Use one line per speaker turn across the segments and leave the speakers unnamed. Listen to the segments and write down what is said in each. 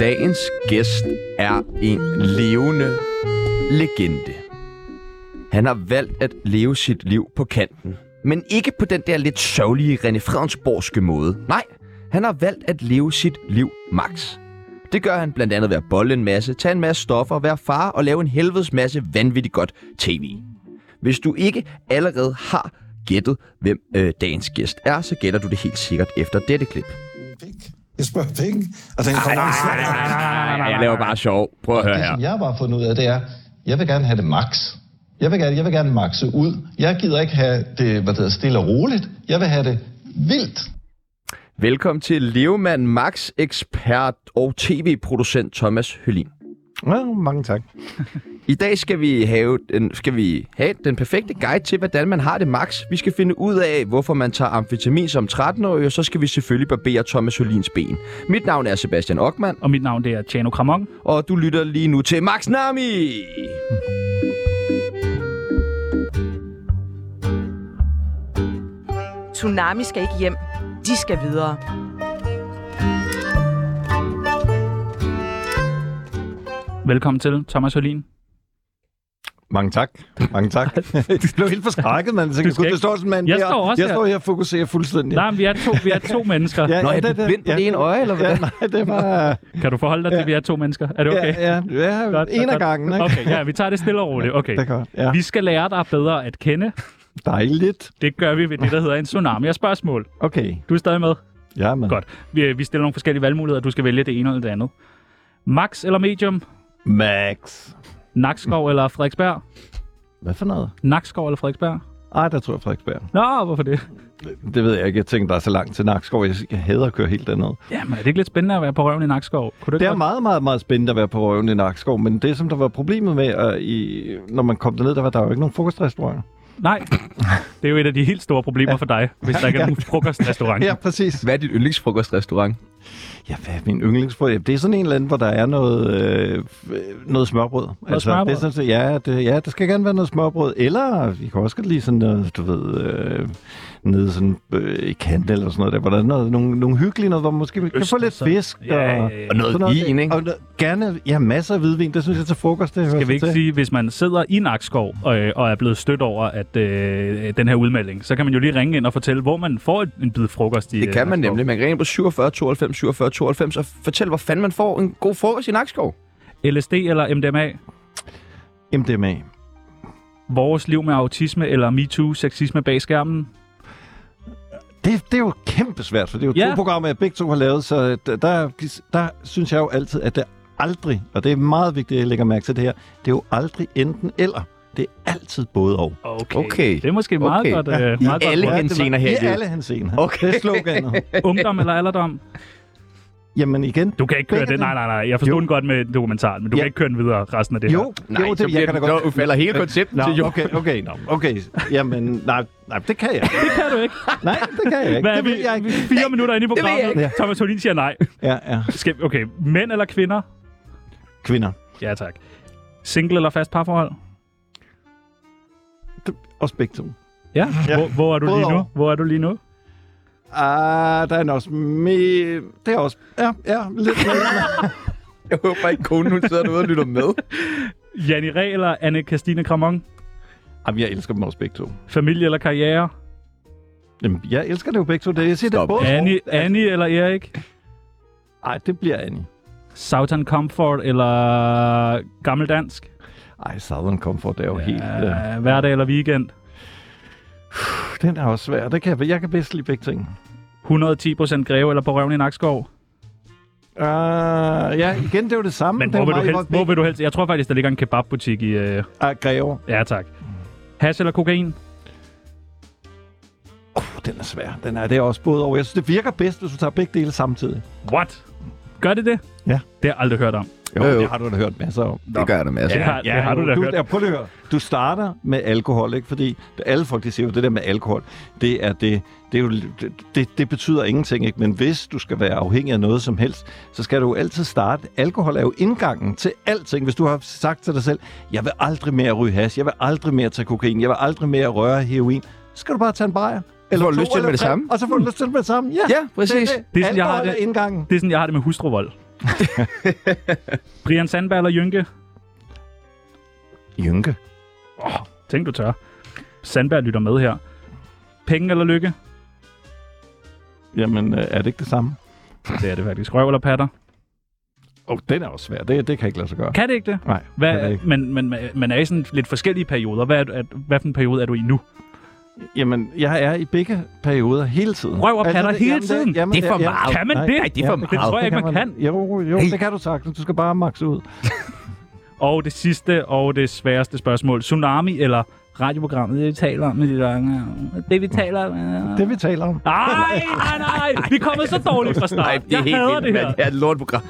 Dagens gæst er en levende legende. Han har valgt at leve sit liv på kanten. Men ikke på den der lidt sørgelige René Fredensborgske måde. Nej, han har valgt at leve sit liv max. Det gør han blandt andet ved at bolle en masse, tage en masse stoffer, være far og lave en helvedes masse vanvittigt godt tv. Hvis du ikke allerede har gættet, hvem øh, dagens gæst er, så gætter du det helt sikkert efter dette klip.
pik. Jeg spørger penge, og den kommer i svar.
Jeg laver bare sjov. Prøv at høre
Det,
her.
som jeg bare har fundet ud af, det
ah,
er, jeg vil gerne have det max. Jeg vil gerne, jeg vil gerne maxe ud. Jeg gider ikke have det, hvad det hedder, stille og roligt. Jeg vil
ah.
have det vildt.
Velkommen til Levemand Max, ekspert og tv-producent Thomas Hølin.
Ja, mange tak.
I dag skal vi, have den, skal vi have den perfekte guide til, hvordan man har det max. Vi skal finde ud af, hvorfor man tager amfetamin som 13-årig, og så skal vi selvfølgelig barbere Thomas Hølins ben. Mit navn er Sebastian Ockmann,
Og mit navn det er Tjano Kramon.
og du lytter lige nu til Max Nami!
Tsunami skal ikke hjem. De skal videre.
Velkommen til, Thomas Hølin.
Mange tak. Mange tak. du blev helt forskrækket, mand. Så
Du
kan
skal
du
ikke-
står sådan en mand
Jeg
der.
står også
jeg
her.
står her og fokuserer fuldstændig.
Nej, men vi er to, vi er to mennesker.
Ja,
Nå,
ja,
er du
det- det-
blind på
ja.
det ene øje, eller
Ja,
hvad?
nej, det var...
Kan du forholde dig til, at vi er to mennesker? Er det okay?
Ja, ja, ja
Godt,
en af
godt.
gangen. Ikke?
Okay, ja, vi tager det stille og roligt. Okay.
Det er godt. Ja.
Vi skal lære dig bedre at kende.
Dejligt.
Det gør vi ved det, der hedder en tsunami af spørgsmål.
Okay,
Du er stadig med?
ja, men.
Godt. Vi, vi stiller nogle forskellige valgmuligheder, du skal vælge det ene eller det andet. Max eller Medium?
Max.
Nakskov eller Frederiksberg?
Hvad for noget?
Nakskov eller Frederiksberg?
Ej, der tror jeg Frederiksberg.
Nå, hvorfor det?
Det ved jeg ikke. Jeg tænkte, der er så langt til Nakskov. Jeg, jeg hader at køre helt derned.
Jamen, er det ikke lidt spændende at være på røven i Nakskov? Kunne du
Det
ikke
er
godt-
meget, meget, meget spændende at være på røven i Nakskov, men det, som der var problemet med, at i, når man kom derned, der var der jo ikke nogen frokostrestauranter.
Nej, det er jo et af de helt store problemer for dig, hvis der ikke er nogen frokostrestaurant.
Ja, præcis.
Hvad er dit yndlingsfrokostrestaurant?
Ja, hvad er min yndlingsbrød? Det er sådan en eller anden, hvor der er noget, øh, øh, noget smørbrød. Noget
smørbrød?
Det er sådan, så, ja, det, ja, der skal gerne være noget smørbrød. Eller vi kan også godt lide sådan noget, du ved, øh, nede sådan, øh, i kanten eller sådan noget der, hvor der er noget, nogle, nogle hyggelige noget, hvor man måske kan få lidt
så.
fisk.
Ja, ja, ja.
Og,
Og
noget
sådan
vin, ikke?
Og noget- gerne, ja, masser af hvidvin. Det synes jeg til frokost, det hører
Skal vi
sig
ikke
til.
sige, hvis man sidder i Nakskov øh, og er blevet stødt over at øh, den her udmelding, så kan man jo lige ringe ind og fortælle, hvor man får et- en bid frokost i
Det kan
øh,
man
Nakskov.
nemlig. Man kan ringe på 47 92 47 92 og fortælle, hvor fanden man får en god frokost i Nakskov.
LSD eller MDMA?
MDMA.
Vores liv med autisme eller MeToo, sexisme bag skærmen?
Det, det er jo kæmpe svært, for det er jo
Ja.
ja. to programmer, jeg begge to har lavet, så der, der, der synes jeg jo altid, at det aldrig, og det er meget vigtigt, at jeg lægger mærke til det her, det er jo aldrig enten eller. Det er altid både og.
Okay.
Okay.
Det er måske meget
Okay.
godt. Øh,
Ja.
meget
I
godt
alle
råd.
henseender her i
I
livet.
alle hans scener.
Okay.
Det er sloganet.
Ungdom eller alderdom?
Jamen igen.
Du kan ikke køre
Begge
det. Nej,
dele.
nej, nej. Jeg forstod
Jo.
den godt med dokumentaren, men du
Ja.
kan ikke køre den videre resten af det her.
Jo,
Nej,
jo,
så
det, jeg kan da godt.
så falder hele konceptet
Nå,
til jorden.
okay, okay, nå, okay. Jamen, nej, nej, det kan jeg ikke.
Det kan du ikke.
Nej, det kan jeg ikke.
Hvad er
det
vi?
vil jeg
vi
ikke.
er Fire minutter inde i
det ved jeg
programmet.
ikke.
Thomas Holin siger nej.
Ja, ja.
Skal, okay, mænd eller kvinder?
Kvinder.
Ja, tak. Single eller fast parforhold?
Også begge to.
Ja. Hvor, hvor er du
Både
lige nu?
og.
Hvor er du lige nu?
Ah, der er nok også me... Det er også... Ja, ja, lidt mere.
Jeg håber ikke, konen hun sidder derude og lytter med.
Janni Reh eller Anne Christine Kramon?
Jamen, jeg elsker dem også begge to.
Familie eller karriere?
Jamen, jeg elsker det jo begge to. Det, jeg siger, det er
Stop.
både...
Annie, Annie eller Erik?
Ej, det bliver Annie.
Southern Comfort eller Gammeldansk?
Ej, Southern Comfort det er jo ja. helt... Øh,
Uh, hverdag eller weekend?
den er også svær. Det kan jeg, jeg kan bedst lide begge ting.
110% Greve eller på røven i Nakskov?
Uh, ja, igen, det er jo det samme.
Men
det er
hvor
jo
vil, du
mig,
helst, hvor vil du helst? Jeg tror faktisk, der ligger en kebabbutik i... Uh...
Ah, Greve.
Ja, tak.
Mm.
Hash eller kokain?
Puh, Uh, den er svær. Den er, det er også både over. Jeg synes, det virker bedst, hvis du tager begge dele samtidig.
What? Gør det det?
Ja.
Det har jeg aldrig hørt om.
Jo,
Jo, jo.
det har du da hørt masser om.
Det gør jeg da med.
Det har, det har
jo,
du da hørt.
Ja, prøv lige at høre. Du starter med alkohol, ikke? Fordi alle folk, de siger jo, det der med alkohol, det er det, det, er jo, det, det, det betyder ingenting, ikke? Men hvis du skal være afhængig af noget som helst, så skal du jo altid starte. Alkohol er jo indgangen til alting. Hvis du har sagt til dig selv, jeg vil aldrig mere ryge hash, jeg vil aldrig mere tage kokain, jeg vil aldrig mere røre heroin, så skal du bare tage en bajer. Eller
får du
to,
lyst til det
eller
med det
tre,
samme.
Og så får du lyst til det med det samme. Ja,
Ja, præcis.
Ligesom Det, er det.
Det er sådan, jeg har
Alkohol
det-
er indgangen.
Det er sådan, jeg har det med hustruvold. Brian Sandberg eller Jynke?
Jynke.
Tænk, du tør. Sandberg lytter med her. Penge eller lykke?
Jamen, øh, er det ikke det samme?
Det er det faktisk. Røv eller patter?
Åh, oh, den er jo svær. Det, det kan jeg ikke lade sig gøre.
Kan det ikke det?
Nej,
Hvad,
kan det ikke.
Men, men man er i sådan lidt forskellige perioder. Hvad, er, du- at, hvad for en periode er du i nu?
Jamen, jeg er i begge perioder hele tiden.
Røv og patter
Altså, det-
hele
jamen,
tiden?
jamen,
Det er for
ja, ja.
meget. Au,
Kan man
nej,
det?
nej, det er for
det
meget.
tror jeg
Det
ikke, man kan.
Jo, jo,
Hey.
det kan du sagtens. Du skal bare makse ud.
Og det sidste og det sværeste spørgsmål. Tsunami eller radioprogrammet, det vi taler om i de lange... Det vi taler om...
Det vi taler om.
Nej, nej, nej! Vi er kommet så dårligt fra start.
Nej, det er
jeg
helt
hader
vildt,
det
mand.
her.
Det er et lortprogram.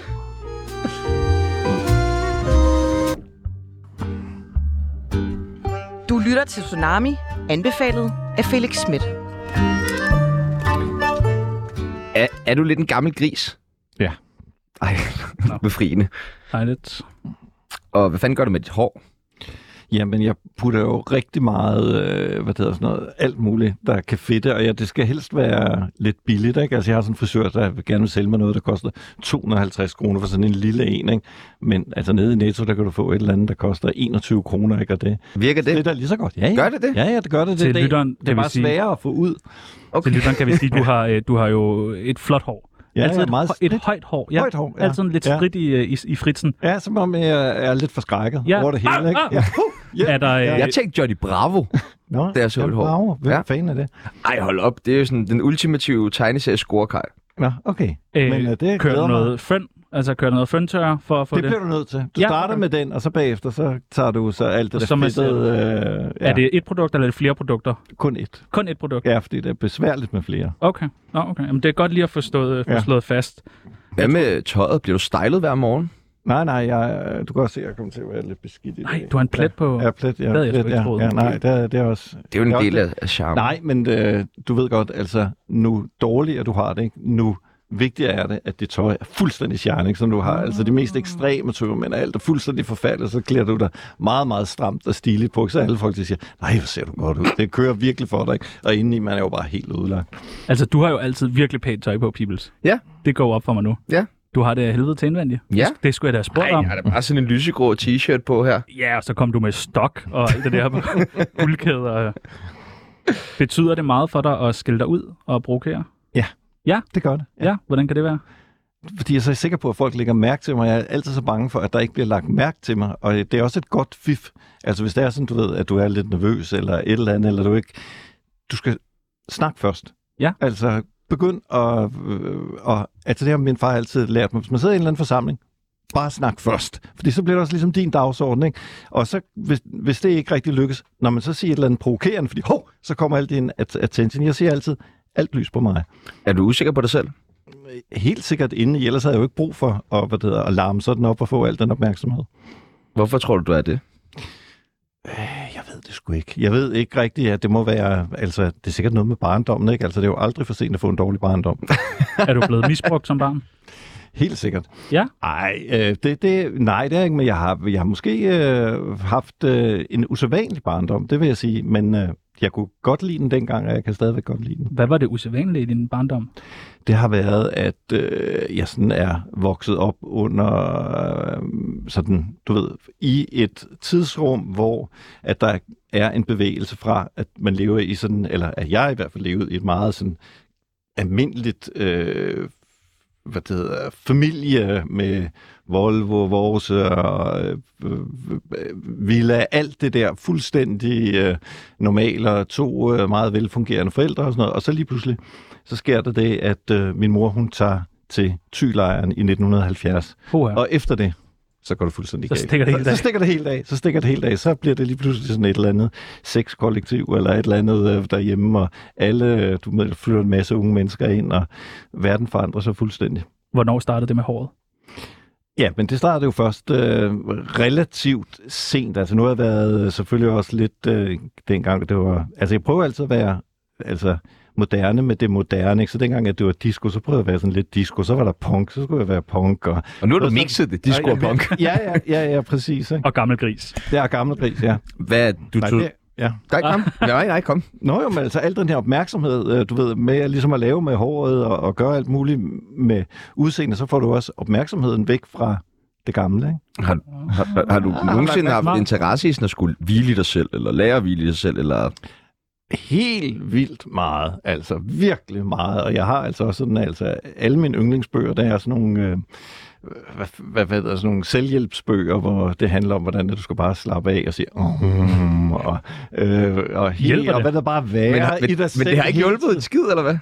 Du lytter til Tsunami, anbefalet af Felix Schmidt.
Er, er du lidt en gammel gris?
Ja.
Ej, befriende.
Dejligt.
Og hvad fanden gør du med dit hår?
Jamen, jeg putter jo rigtig meget, øh, hvad det hedder sådan noget, alt muligt, der kan fedte, og jeg, det skal helst være lidt billigt, ikke? Altså, jeg har sådan en frisør, der vil gerne vil sælge mig noget, der koster 250 kroner for sådan en lille en, ikke? Men altså, nede i Netto, der kan du få et eller andet, der koster 21 kroner, ikke? Og det,
Virker
det er
det?
da lige så godt. Ja, ja.
Gør det det?
Ja, ja, det gør det.
Til
det,
lytteren
det, det
kan
er
vi
bare
sige-
sværere at få ud.
Til lytteren kan vi sige, at du har, øh, du har jo et flot hår.
Ja,
altid
ja,
et,
meget
hø- et
stridt.
højt hår. Ja.
Højt hår, ja.
Altid en lidt
Ja.
frit i, øh, i, i fritsen.
Ja, som om jeg er lidt forskrækket
Ja.
ja. over det hele,
Ah,
ikke?
ah.
Ja.
Er der, øh,
Jeg tænkte Johnny Bravo.
Nå,
Det er så
jamen,
hår.
Bravo. Hvem
Ja.
ja. fanden er det?
Ej, hold op. Det er jo sådan den ultimative tegneserie scorekaj.
Nå, okay.
øh,
Men øh, det
kører
glæder
du
mig.
noget føn? Altså kører du noget føntørre for at få
det,
det?
bliver du nødt til. Du
Ja,
ja, starter
okay.
med den, og så bagefter, så tager du så alt
Og
det
så
der
masserer
fedtede, øh, ja,
Er det et produkt eller er det flere produkter?
kun et.
Kun et produkt?
Ja, fordi det er besværligt med flere.
Okay. Nå, okay. Jamen, det er godt lige at få, stået, øh, få
Ja.
slået fast.
Hvad med tøjet? Bliver du stylet hver morgen?
Nej, nej, jeg, øh, du kan også se, at jeg kommer til at være lidt beskidt i
Nej,
dag.
du har en plet på...
Ja, ja, plet, ja,
Det havde jeg sgu
plet,
ikke
ja,
troet.
ja, nej, det er, det er også...
Det er jo
er
en
også
del af af charmen.
Nej, men øh, du ved godt, altså, nu dårligere du har det, ikke? nu vigtigere er det, at det tøj er fuldstændig shine, ikke, som du har. Altså det mest ekstreme tøj, men alt er fuldstændig forfaldet, så klæder du dig meget, meget stramt og stiligt på, ikke? så alle folk de siger, nej, hvor ser du godt ud. Det kører virkelig for dig, ikke? og indeni man er jo bare helt udlagt.
Altså, du har jo altid virkelig pænt tøj på, Peoples.
Ja.
Det går op for mig nu.
Ja.
Du har det af helvede til indvendigt.
Ja.
Det, det skulle jeg da have spurgt
Ej,
om.
jeg har da bare sådan en lysegrå t-shirt på her.
Ja, og så kom du med stok og alt det der med guldkæder. Betyder det meget for dig at skille dig ud og provokere?
Det gør det.
Ja. ja. Hvordan kan det være?
fordi jeg så er sikker på, at folk lægger mærke til mig. Jeg er altid så bange for, at der ikke bliver lagt mærke til mig. Og det er også et godt fif. Altså hvis det er sådan, du ved, at du er lidt nervøs eller et eller andet, eller du ikke... Du skal snakke først.
Ja.
Altså begynd at... Øh, og, altså det har min far altid lært mig. Hvis man sidder i en eller anden forsamling, bare snak først. Fordi så bliver det også ligesom din dagsorden, ikke? Og så, hvis, hvis det ikke rigtig lykkes, når man så siger et eller andet provokerende, fordi hov, så kommer alt din at- attention. Jeg siger altid, alt lys på mig
Er du usikker på dig selv?
helt sikkert inde i, ellers havde jeg jo ikke brug for at, hvad det hedder, at larme sådan op og få al den opmærksomhed.
Hvorfor tror du, du er det?
Jeg ved det sgu ikke. Jeg ved ikke rigtigt, at det må være, altså det er sikkert noget med barndommen, ikke? Altså det er jo aldrig for sent at få en dårlig barndom.
Er du blevet misbrugt som barn?
Helt sikkert.
Ja.
Ej, øh, det, det, nej, det er ikke, men jeg har, jeg har måske øh, haft øh, en usædvanlig barndom, det vil jeg sige, men øh, jeg kunne godt lide den dengang, og jeg kan stadigvæk godt lide den.
Hvad var det usædvanlige i din barndom?
det har været, at øh, jeg sådan er vokset op under, øh, sådan, du ved, i et tidsrum, hvor at der er en bevægelse fra, at man lever i sådan, eller at jeg i hvert fald levede i et meget sådan almindeligt øh, hvad det hedder, familie med Volvo, Vorse og øh, øh, øh, Villa, alt det der fuldstændig øh, normale, og to øh, meget velfungerende forældre og sådan noget. Og så lige pludselig, så sker der det, at øh, min mor, hun tager til Thylejren i 1970.
Hoa.
Og efter det, så går det fuldstændig
Så
galt.
stikker det helt
så,
af.
så stikker det helt af. Så stikker det helt af. Så bliver det lige pludselig sådan et eller andet sexkollektiv, eller et eller andet øh, derhjemme, og alle, øh, du ved, flytter en masse unge mennesker ind, og verden forandrer sig fuldstændig.
Hvornår startede det med håret?
Ja, men det startede jo først øh, relativt sent. Altså nu har jeg været øh, selvfølgelig også lidt øh, dengang, det var... Altså jeg prøver altid at være altså, moderne med det moderne. Ikke? Så dengang, at det var disco, så prøvede jeg at være sådan lidt disco. Så var der punk, så skulle jeg være punk. Og,
Og nu har du
Hvorfor-
mixet det, disco og punk.
Ja, ja, ja, ja, præcis. Ikke?
Og gammel gris.
Det er gammel gris, ja.
Hvad er du
Nej,
tog...
det, Ja.
Nej, kom. Nej, nej, kom.
Nå jo, men altså al den her opmærksomhed, øh, du ved, med at, ligesom at lave med håret og, og gøre alt muligt med udseende, så får du også opmærksomheden væk fra det gamle, ikke?
Har, har, har, har
Ah,
du nogensinde haft interesse i sådan at skulle hvile i dig selv, eller lære at hvile i dig selv, eller...
helt vildt meget, altså virkelig meget, og jeg har altså også sådan, altså alle mine yndlingsbøger, der er sådan nogle, øh, hvad, hvad, hvad hedder, sådan nogle selvhjælpsbøger, hvor det handler om, hvordan at du skal bare slappe af og sige, mm, og, øh, og,
Hjælper
helt, og
det?
hvad der bare være
Men, har-
i
men,
dig
men
selv
det har ikke
hele
hjulpet en skid, eller hvad?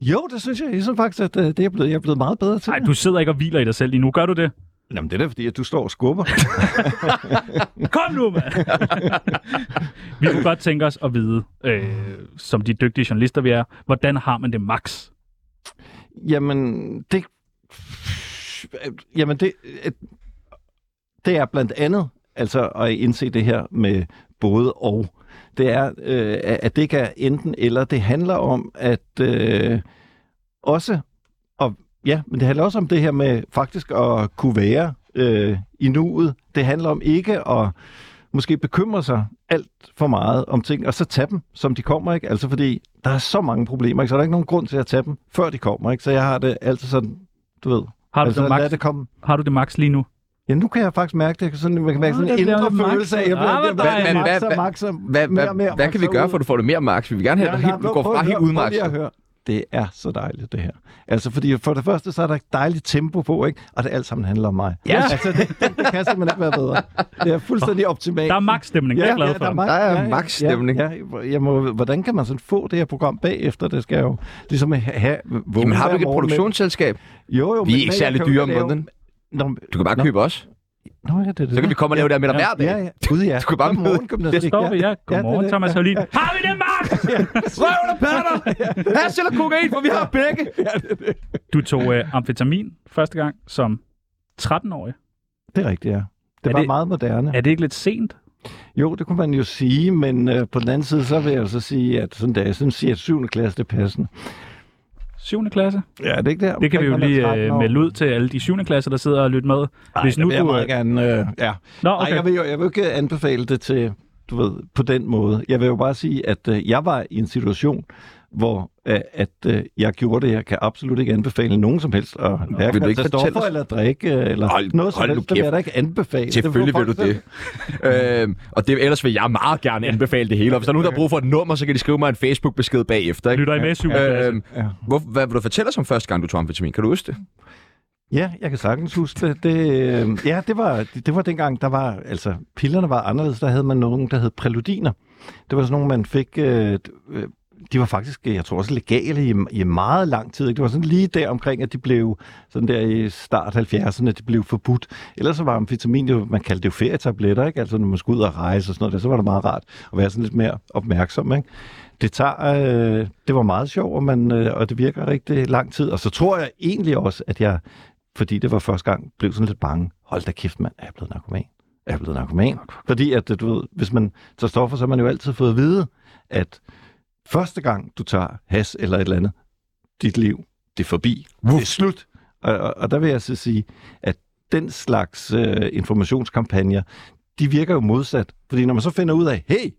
tiden. Jo, det synes jeg, jeg synes faktisk, at øh, det er blevet, jeg er blevet meget bedre til.
Nej, du sidder ikke og hviler i dig selv lige nu. Gør du det?
Jamen, det er da fordi, at du står og skubber.
Kom nu, mand! vi kunne godt tænke os at vide, øh, som de dygtige journalister vi er, hvordan har man det max?
Jamen, det... Jamen, det... øh, Det er blandt andet altså at indse det her med både og. Det er, øh, at det ikke er enten eller. Det handler om, at øh, også... Og, ja, men det handler også om det her med faktisk at kunne være øh, i nuet. Det handler om ikke at måske bekymre sig alt for meget om ting, og så tage dem, som de kommer, ikke? Altså fordi, der er så mange problemer, ikke? Så er der ikke nogen grund til at tage dem, før de kommer, ikke? Så jeg har det altid sådan, du ved,
Har du,
altså,
det,
lad
max,
det komme.
har du det max lige nu?
Ja, nu kan jeg faktisk mærke det. Jeg kan Sådan, man kan mærke
Åh,
sådan
der
en
bliver
indre
makset.
følelse af, jeg bliver,
Ah,
jeg
hvor
bliver
dejligt.
Men hvad-
makser,
hvad-
makser,
Hvad, hvad,
mere og mere,
hvad kan vi
makser
gøre,
ud.
for at du får det mere max? Vi vil gerne have, at du,
Ja,
helt,
nej,
du går
prøv-
fra
prøv-
helt
prøv
uden max.
lige at høre. Det er så dejligt, det her. Altså, fordi for det første, så er der et dejligt tempo på, ikke? Og det alt sammen handler om mig.
Ja.
Altså, det, det, det kan simpelthen ikke være bedre. Det er fuldstændig optimalt.
Der er max-stemning, ja, det er jeg glad for.
der er, maks-
Der er
ja, ja,
maks-stemning.
Ja, ja, jeg må, hvordan kan man sådan få det her program bagefter? Det skal jo ligesom ha- have... vågne
Jamen, har du
hver
ikke et
morgen med-
produktionsselskab?
Jo, jo,
Vi er ikke særlig dyre om måneden.
måneden.
Du kan bare købe os.
Nå, ja, det, er det.
Så kan vi komme og lave det her med dig hver dag.
Ja, ja. Gud, altså, ja.
Du kan bare møde-
Det står vi, ja. Godmorgen, ja, Thomas Hallin. Har vi det max?
Røvler, patter! Hash eller kokain, for vi har begge!
Du tog øh, amfetamin første gang som 13-årig.
Det er rigtigt, ja.
Er
Det var
det-
meget moderne.
Er det ikke lidt sent?
Jo, det kunne man jo sige, men øh, på den anden side, så vil jeg jo så sige, at sådan der, jeg synes, at 7. klasse, det er passende.
7. klasse?
Ja, det er ikke der.
Det kan vi jo
omkring, man er
lige
13
øh,
år.
melde ud til alle de 7. klasser, der sidder og lytter med.
Ej,
Hvis
det
nu
vil jeg
du...
meget gerne, øh, ja.
Nå,
Okay. Ej,
okay.
jeg vil jo jeg vil jo ikke anbefale det til, du ved, på den måde. Jeg vil jo bare sige, at øh, jeg var i en situation, hvor øh, at øh, jeg gjorde det, jeg kan absolut ikke anbefale nogen som helst at
vil
hverken
du ikke
tage
fortælle
stoffer
os-
eller drikke, øh, eller
Hold-
noget som
hold nu
helst, det vil
kæft.
jeg da ikke anbefale. Det
Selvfølgelig
får
vil du
folk selv-
det. øhm, og det, ellers vil jeg meget gerne anbefale det hele. Og hvis der er nogen, der har brug for et nummer, så kan de skrive mig en Facebook-besked bagefter. Ikke?
Lytter I med i 7.
Øh,
klasse?
Øhm, hvor, hvad vil du fortælle os om første gang, du tog amfetamin? Kan du huske det?
Ja, jeg kan sagtens huske det. det øh, ja, det var, det, det var dengang, der var, altså pillerne var anderledes, der havde man nogen, der hed præludiner. Det var sådan nogle, man fik, øh, d- øh, de var faktisk, øh, jeg tror også legale i, i meget lang tid. Ikke? Det var sådan lige der omkring, at de blev, sådan der i start 70'erne, de blev forbudt. Ellers så var amfetamin, det var, man kaldte det jo ferietabletter, ikke? Altså når man skulle ud og rejse og sådan noget, der, så var det meget rart at være sådan lidt mere opmærksom, ikke? det tager, øh, det var meget sjovt, og, man, øh, og det virker rigtig lang tid. Og så tror jeg egentlig også, at jeg, fordi det var første gang, blev sådan lidt bange. Hold da kæft, mand, er jeg blevet narkoman? Er jeg blevet narkoman? Fordi at, øh, du ved, hvis man tager stoffer, så har man jo altid fået at vide, at første gang, du tager has eller et eller andet, dit liv, det er forbi. Det er slut. Og, og, og der vil jeg så sige, at den slags øh, informationskampagner, de virker jo modsat. Fordi når man så finder ud af, hey,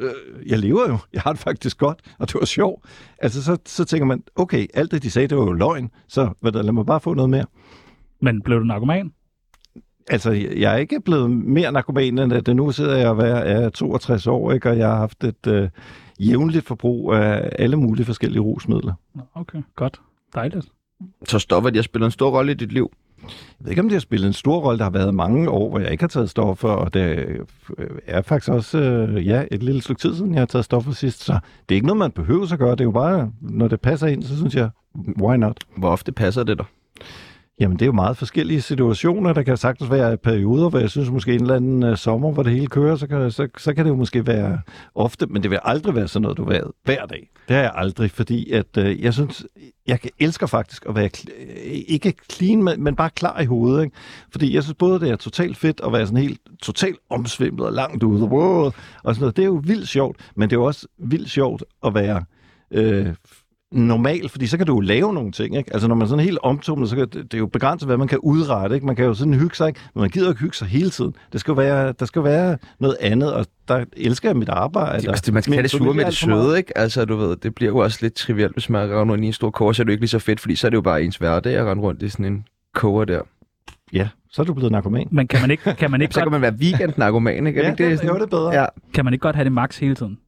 øh, jeg lever jo, jeg har det faktisk godt, og det var sjovt. Altså, så, så tænker man, okay, alt det, de sagde, det var jo løgn, så hvad der, lad mig bare få noget mere.
Men blev du narkoman?
Altså, jeg jeg er ikke blevet mere narkoman, end at nu sidder jeg og er- er 62 år, ikke? og jeg har haft et øh, jævnligt forbrug af alle mulige forskellige rusmidler.
Nå, okay, godt. Dejligt.
Så stopper de at spille en stor rolle i dit liv.
Jeg ved ikke, om det har spillet en stor rolle. Der har været mange år, hvor jeg ikke har taget stoffer, og det øh, er faktisk også øh, ja, et lille stykke tid siden, jeg har taget stoffer sidst. Så det er ikke noget, man behøver at gøre. Det er jo bare, når det passer ind, så synes jeg, why not?
Hvor ofte passer det dig?
Jamen, det er jo meget forskellige situationer. Der kan sagtens være perioder, hvor jeg synes måske en eller anden øh, sommer, hvor det hele kører, så kan, så, så kan det jo måske være ofte, men det vil aldrig være sådan noget, du ved, hver dag. Det har jeg aldrig, fordi at, øh, jeg synes, jeg kan- elsker faktisk at være, kl- øh, ikke clean, men, men bare klar i hovedet. Ikke? Fordi jeg synes både, det er totalt fedt at være sådan helt totalt omsvimlet og langt ude, wow, og sådan noget. Det er jo vildt sjovt, men det er jo også vildt sjovt at være... Øh, normal, fordi så kan du jo lave nogle ting. Ikke? Altså når man sådan er helt omtumlet, så kan, det, det er jo begrænset, hvad man kan udrette. Ikke? Man kan jo sådan hygge sig, ikke? men man gider jo ikke hygge sig hele tiden. Det skal jo være, der skal jo være noget andet, og der elsker jeg mit arbejde.
Det, altså, det- man skal have det sure med det søde, ikke? Altså, du ved, det bliver jo også lidt trivielt, hvis man render rundt i en stor kår, så er det jo ikke lige så fedt, fordi så er det jo bare ens hverdag at rende rundt i sådan en koger der.
Ja, så er du blevet narkoman.
Men kan man ikke, kan man ikke,
Så kan
godt,
man være weekend-narkoman, ikke? Er
Ja,
ikke
det, jo, det er bedre.
Ja.
kan man ikke godt have det max hele tiden?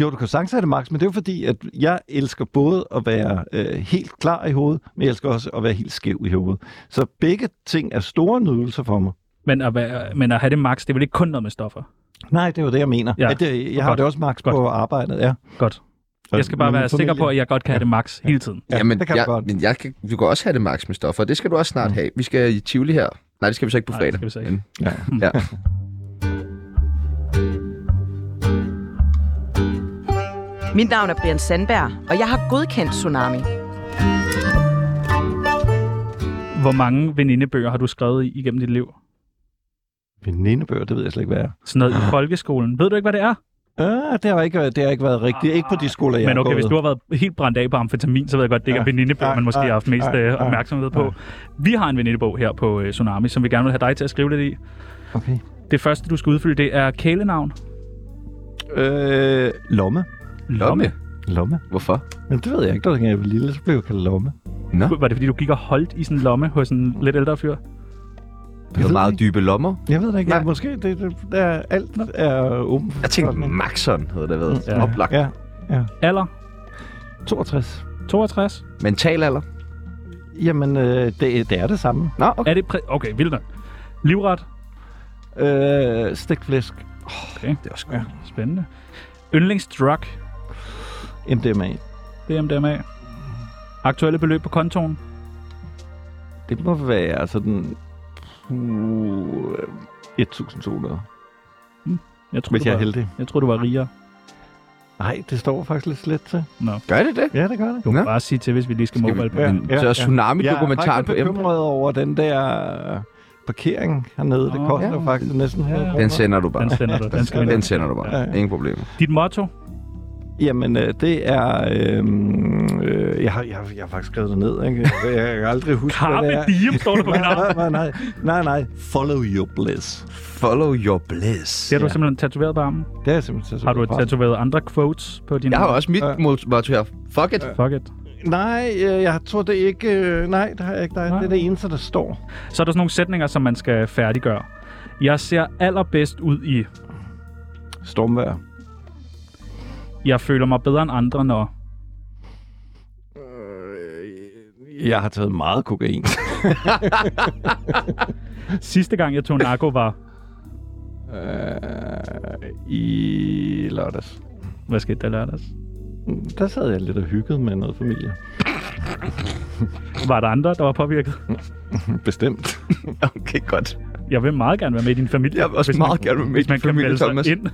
Jo, du kan sagtens have det, Max, men det er jo fordi, at jeg elsker både at være øh, helt klar i hovedet, men jeg elsker også at være helt skæv i hovedet. Så begge ting er store nydelser for mig.
Men at, være, men at have det max, det er vel ikke kun noget med stoffer?
Nej, det er jo det, jeg mener.
Ja.
Ja. At det, jeg har
Godt.
det også, Max, på
Godt.
arbejdet. Ja.
Godt. Jeg skal bare
Med min
være sikker
familie.
på, at jeg godt kan have det max hele tiden.
Ja,
Jamen,
det kan du
jeg,
godt. Mm.
Men jeg kan, du kan også have det max med stoffer, og det skal du også snart have. Vi skal i Tivoli her. Nej, det skal vi så ikke på
Nej, det
fredag.
skal vi så ikke.
Ja.
Men- Ja.
Mit navn er Brian Sandberg, og jeg har godkendt Tsunami.
Hvor mange venindebøger har du skrevet i, igennem dit liv?
Venindebøger, det ved jeg slet ikke, hvad er.
Sådan noget i folkeskolen. Ved du ikke, hvad det er?
Ah, det har ikke, været- det har ikke været rigtigt. Ikke på de skoler, jeg
Men okay,
har
hvis du har været helt brændt af på amfetamin, så ved jeg godt, det ikke er
Ja.
venindebøger,
Ja,
man måske
ja,
har haft mest
ja,
øh,
ja,
opmærksomhed
Ah.
på. Vi har en venindebog her på øh, Tsunami, som vi gerne vil have dig til at skrive lidt i.
Okay.
Det første, du skal udfylde, det er kælenavn.
Øh, lomme.
Lomme?
Lomme?
Hvorfor?
Men det ved jeg ikke, da jeg var lille, så blev jeg kaldt lomme.
Var det, fordi du gik og holdt i sådan en lomme hos en lidt ældre fyr?
Det var
ved
meget
ikke.
dybe lommer.
Jeg ved det ikke.
Nej.
Ja, måske det, det er, alt er åbent. for
Jeg tænkte,
fortolkning.
Maxon havde det været
Mm, Ja.
ja. oplagt. Ja.
Ja, ja.
Alder?
62.
62?
Mental alder.
Jamen, øh, det, det er det samme.
Nå, okay.
Er det præ- okay, vildt nok. Livret?
Øh, stegt flæsk.
Det er også godt.
Spændende. Yndlingsdrug?
MDMA.
Det er MDMA. Aktuelle beløb på kontoen?
Det må være altså, sådan... Uh, 1200.
Jeg tror,
Hvis
du
jeg er
var,
heldig.
jeg tror, du var rigere.
Nej, det står faktisk lidt slet til.
Gør det det?
Ja, det gør det.
Du må
Nå.
bare sige til, hvis vi lige skal,
Skal vi-
mobile på.
Ja,
Men,
ja,
så er
ja.
Tsunami-dokumentaren på
Jeg er faktisk
M.
bekymret over den der øh, parkering hernede. Det
Åh,
koster
ja.
faktisk næsten her.
Den
Den sender du bare.
Den sender du. Den skal vi
Den
nok.
sender du bare.
Ja, ja.
Ingen problemer.
Dit motto?
Jamen, øh, det er... Øh, øh, jeg, har, jeg, har- jeg har faktisk skrevet det ned. Ikke? Jeg, jeg kan aldrig huske,
Carpe
hvad det er.
diem, står der på min arm.
nej, nej, nej, nej, nej. Follow your bliss.
Follow your bliss.
Det har du
Ja.
simpelthen tatoveret på armen.
Det er simpelthen så
Har du
super godt.
tatoveret andre quotes på din
Jeg har også mit
Ja.
motto her. Fuck it.
Fuck it.
Nej, øh, jeg tror det ikke... øh, Nej, det har jeg ikke. Der,
Nej.
det er det eneste, der står.
Så er der sådan nogle sætninger, som man skal færdiggøre. Jeg ser allerbedst ud i.
Stormvær.
Jeg føler mig bedre end andre, når...
Jeg har taget meget kokain.
Sidste gang, jeg tog narko, var...
øh, I lørdags.
Hvad skete der i lørdags?
Mm, Der sad jeg lidt og hyggede med noget familie.
Var der andre, der var påvirket?
Bestemt.
Okay, godt.
Jeg vil meget gerne være med i din familie.
Jeg vil også
hvis man-
meget gerne være med i
hvis
din
man kan
familie,
melde sig
Thomas.
Ind.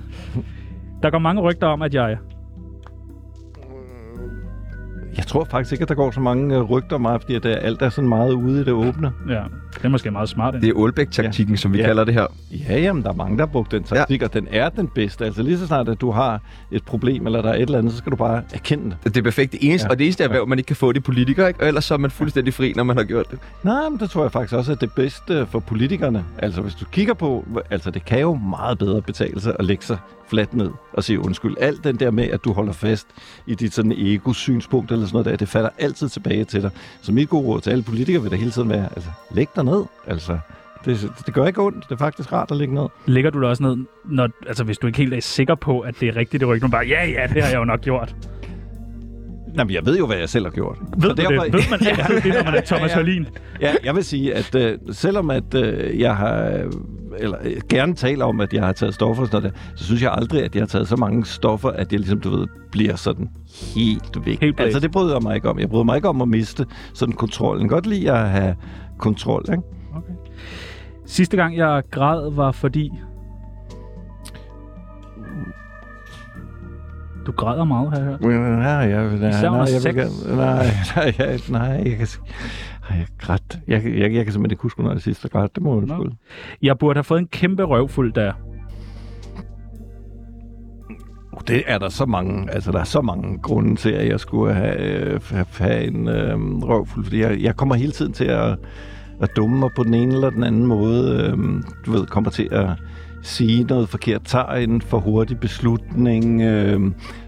Der går mange rygter om, at jeg...
Jeg tror faktisk ikke, at der går så mange øh, rygter om mig, fordi at, øh, alt er sådan meget ude i det åbne.
Ja, det er måske meget smart.
Det er Aalbæk-taktikken, som vi
Ja.
kalder det her.
Ja, jamen, der er mange, der har brugt den taktik, ja. og den er den bedste. Altså lige så snart, at du har et problem, eller der er et eller andet, så skal du bare erkende det.
Det er perfekt. Det eneste,
Ja.
ja. Og det eneste erhverv, man ikke kan få, det er politikere, ikke? Og ellers så er man fuldstændig fri, når man har gjort det.
Nej, men det tror jeg faktisk også er det bedste for politikerne. Altså hvis du kigger på, altså det kan jo meget bedre betale sig at lægge sig fladt ned og sige undskyld. Alt den der med, at du holder fast i dit sådan ego-synspunkt eller sådan noget der, det falder altid tilbage til dig. Så mit gode råd til alle politikere vil da hele tiden være, altså læg dig ned, altså. Det, det gør ikke ondt. Det er faktisk rart at ligge ned.
Ligger du der også ned, når, altså, hvis du ikke helt er sikker på, at det er rigtigt, det rygte? Bare, ja, ja, det har jeg jo nok gjort.
Nej, men jeg ved jo, hvad jeg selv har gjort.
Ved,
Så
du det? ved man altid det, når man er
Ja,
Thomas
ja.
Hørlin?
Ja, jeg vil sige, at øh, selvom at øh, jeg har eller øh, gerne taler om, at jeg har taget stoffer og sådan noget, der, så synes jeg aldrig, at jeg har taget så mange stoffer, at jeg ligesom, du ved, bliver sådan helt væk.
Helt blæst.
altså, det bryder jeg mig ikke om. Jeg bryder mig ikke om at miste sådan kontrollen. Godt lide at have kontrol, ikke?
Okay. Sidste gang, jeg græd, var fordi... Du græder meget, har jeg hørt.
Nej, jeg, jeg, nej,
Især
nej,
under
jeg
sex.
vil gerne, nej, nej, jeg, nej, jeg kan, nej, jeg græd. Jeg, jeg, jeg, kan simpelthen ikke huske, når jeg sidst har grædt. Det må jeg
Nå.
undskylde.
Jeg burde have fået en kæmpe røvfuld, da...
Uh, det er der så mange, altså der er så mange grunde til, at jeg skulle have, øh, have, have en øh, røvfuld, fordi jeg, jeg kommer hele tiden til at, at dumme mig på den ene eller den anden måde. Øh, du ved, kommer til at sige noget forkert, tager en for hurtig beslutning, øh,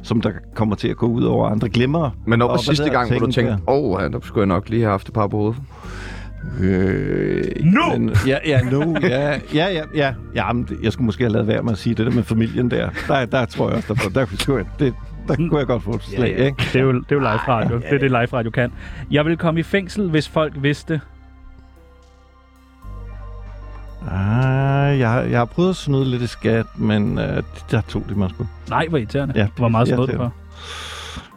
som der kommer til at gå ud over andre. Glemmer.
Men når var
og
sidste
hvad
gang, hvor du
tænkte-
tænkte, åh, oh, der skulle jeg nok lige have haft et par på hovedet?
Øh,
Nu!
Men, ja, ja, nu. Ja, ja, ja. ja. Jamen, det- jeg skulle måske have lavet være med at sige det der med familien der. Der, der tror jeg også, der, der, kunne, jeg- det, der kunne jeg godt få et slag, ikke?
Det er jo, det er jo live radio. Det er det, live radio kan. Jeg ville komme i fængsel, hvis folk vidste.
Ah, jeg, har- jeg har prøvet at snyde lidt i skat, men øh, der tog det mig sgu.
Nej, hvor irriterende.
Ja,
Ja,
det
hvor
er
meget snød du for?
irriterende.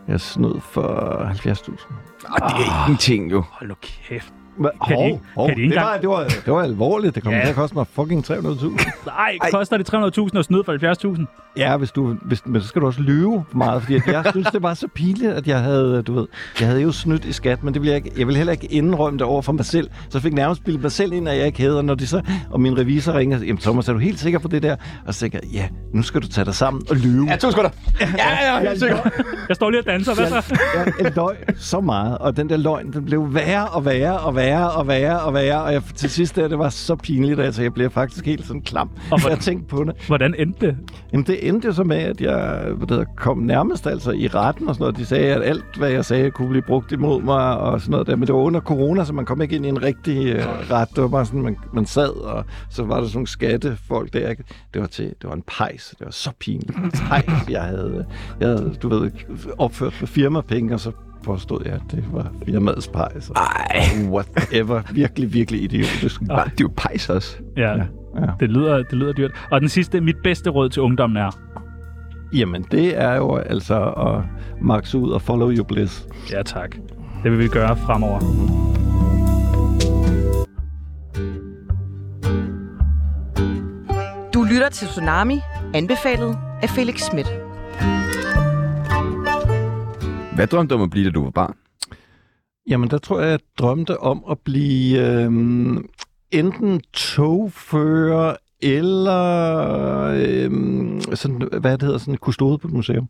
Jeg snød for 70.000.
Ah, det er oh. ingenting jo.
Hold nu kæft.
Hva-
Kan de ikke-
hov,
kan de ikke
det, var,
engang-
det, var, det var alvorligt. Det kom
Ja.
ja. til at koste mig fucking 300.000.
Nej, koster det 300.000 at snyde for 70.000?
Ja, hvis du, hvis, men så skal du også lyve meget, fordi at jeg synes, det var så pinligt, at jeg havde, du ved, jeg havde jo snydt i skat, men det ville jeg, ikke, jeg ville heller ikke indrømme det over for mig selv. Så jeg fik nærmest bildet mig selv ind, at jeg ikke havde, og når de så, og min revisor ringer, jamen Thomas, er du helt sikker på det der? Og så tænker jeg, ja, nu skal du tage dig sammen og lyve.
Ja, to sekunder. Ja, ja, ja, helt sikkert.
Jeg står lige og danser, hvad så?
jeg, jeg løg så meget, og den der løgn, den blev værre og værre og værre og værre og værre, og jeg, til sidst der, det var så pinligt, altså jeg blev faktisk helt sådan klam,
Og
og
hvor-
jeg tænkte på det.
Hvordan endte det?
Jamen det endte jo så med, at jeg hvad det hedder, kom nærmest altså i retten og sådan noget. De sagde, at alt, hvad jeg sagde, kunne blive brugt imod mig og sådan noget der. Men det var under corona, så man kom ikke ind i en rigtig øh, ret. Det var bare sådan, man, man sad, og så var der sådan nogle skattefolk der. ikke? Det var, til, det var en pejs. Det var så pinligt. En Pejs, jeg havde, jeg havde, du ved, opført med firmapenge, og så påstod jeg, at det var firmaets pejs. og Whatever. Virkelig, virkelig idiotisk.
Ah, det er jo pejs også.
Ja, ja.
ja.
Det, lyder, det lyder dyrt. Og den sidste, mit bedste råd til ungdommen er...
Jamen, det er jo altså at max ud og follow your bliss.
Ja, tak. Det vil vi gøre fremover.
Du lytter til Tsunami, anbefalet af Felix Schmidt.
Hvad drømte du om at blive, da du var barn?
Jamen, der tror jeg, jeg drømte om at blive øhm, enten togfører eller øhm, sådan, hvad det hedder, sådan kustode på et museum.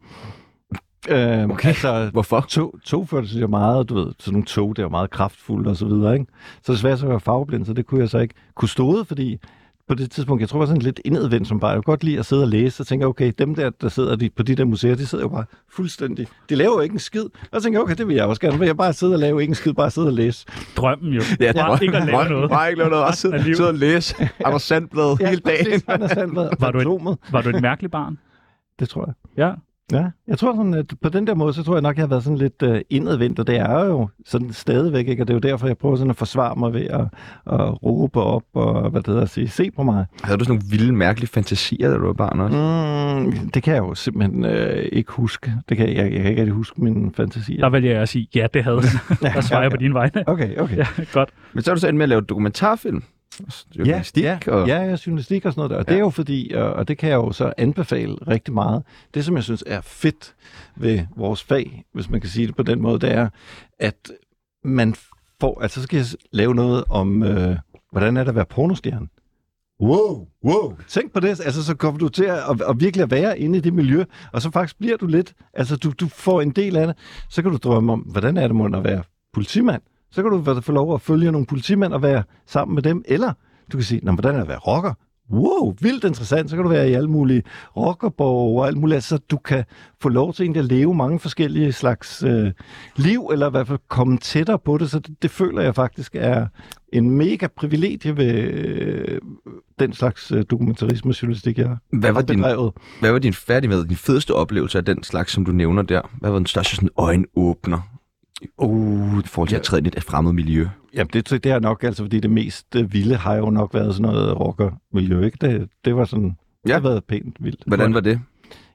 Øhm, okay. Altså,
Hvorfor?
tog, togfører, det synes jeg er meget, du ved, sådan nogle tog, der er meget kraftfulde og så videre, ikke? Så desværre så var jeg farveblind, så det kunne jeg så ikke kustode, fordi på det tidspunkt, jeg tror, jeg var sådan lidt indadvendt som bare. Jeg kunne godt lide at sidde og læse, og tænke, okay, dem der, der sidder de, på de der museer, de sidder jo bare fuldstændig. De laver jo ikke en skid. Og så tænkte jeg, okay, det vil jeg også gerne. Vil jeg bare sidde og lave ikke en skid, bare sidde og læse.
Drømmen jo.
Ja,
Bare
drøm-
ikke at lave
drøm-
noget.
Bare ikke lave noget. Bare sidde,
Alligevel.
sidde og læse Anders Sandblad hele dagen.
præcis, Anders Sandblad og
Var du et-
Fantomet.
Var du et mærkeligt barn?
Det tror jeg.
Ja.
Ja, jeg tror sådan, at på den der måde, så tror jeg nok, jeg har været sådan lidt øh, indadvendt, og det er jo sådan stadigvæk, ikke? og det er jo derfor, jeg prøver sådan at forsvare mig ved at, at råbe op og hvad det hedder, at sige, se på mig.
Havde du sådan nogle vilde, mærkelige fantasier, da du var barn også?
Mm, det kan jeg jo simpelthen øh, ikke huske. Det kan, jeg, jeg kan ikke rigtig huske mine fantasier.
Der vælger jeg at sige, ja, det havde jeg. Der svarer jeg på din vegne.
Okay, okay.
Ja, godt.
Men så er du så endt med at lave dokumentarfilm. Journalistik
ja,
og...
ja, ja, journalistik og sådan noget der. Og det er jo fordi, og, og det kan jeg jo så anbefale rigtig meget. Det, som jeg synes er fedt ved vores fag, hvis man kan sige det på den måde, det er, at man får, altså så skal jeg s- lave noget om, øh, hvordan er det at være pornostjerne? Wow, wow. Tænk på det, altså så kommer du til at, at, at virkelig at være inde i det miljø, og så faktisk bliver du lidt, altså du, du får en del af det, så kan du drømme om, hvordan er det mon at være politimand? Så kan du være- få lov at følge nogle politimænd og være sammen med dem, eller du kan sige, "Nå, men hvordan er det at være rocker? Wow, vildt interessant. Så kan du være i alle mulige rockerborg og alt muligt. Altså, du kan få lov til egentlig at leve mange forskellige slags øh, liv, eller i hvert fald komme tættere på det. Så det, det føler jeg faktisk er en mega privilegie ved øh, den slags øh, dokumentarisme og journalistik, jeg
Hvad var,
har
din,
bedrevet.
hvad var din færdig med, din fedeste oplevelse af den slags, som du nævner der? Hvad var den største sådan øjenåbner? Uh, i forhold til at træde ind i et fremmed miljø.
Jamen, det, det er nok altså, fordi det mest øh, vilde har jo nok været sådan noget rockermiljø, ikke? Det, det var sådan, ja. det
Ja.
har været pænt vildt.
Hvordan var det?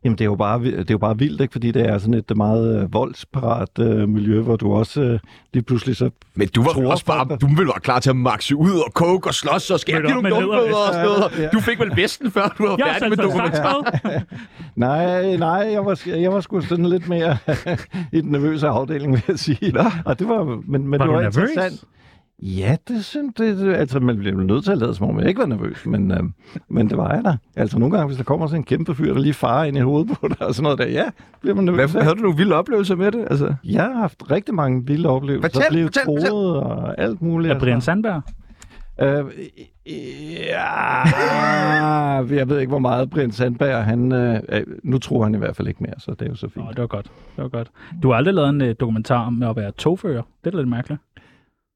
Jamen, det er jo bare, vi- det er jo bare vildt, ikke? fordi det er sådan et meget øh, voldsparat øh, miljø, hvor du også øh, lige pludselig så...
Men du var vel
Tror
også bare,
folk,
du ville være klar til at makse ud og koke og slås og skære
Mødte
nogle
op med
dumbøder og sådan
lædervest.
noget. Du fik vel vesten, før du var
Jeg er
altså,
færdig med
sådan
dokumentar.
så
Nej, nej, jeg var, jeg var sgu sådan lidt mere i den nervøse afdeling, vil jeg sige. Nå. Og det var, men, men
Var
det
du
var
nervøs?
interessant. Ja, det synes det, det, altså man bliver nødt til at lade som om, jeg ikke var nervøs, men, øh, men det var jeg da. Altså nogle gange, hvis der kommer sådan en kæmpe fyr, der lige farer ind i hovedet på dig og sådan noget der, ja, bliver man nervøs.
Hvad,
af.
havde du nogle vilde oplevelser med det? Altså,
Jeg har haft rigtig mange vilde oplevelser.
Fortæl,
Blevet
fortæl, fortæl.
troet og alt muligt.
Er Brian Sandberg?
Øh, ja, jeg ved ikke, hvor meget Brian Sandberg, han, øh, øh, nu tror han i hvert fald ikke mere, så det er jo så fint.
Nå, det var godt. Det var godt. Du har aldrig lavet en øh, dokumentar om at være togfører. Det er da lidt mærkeligt.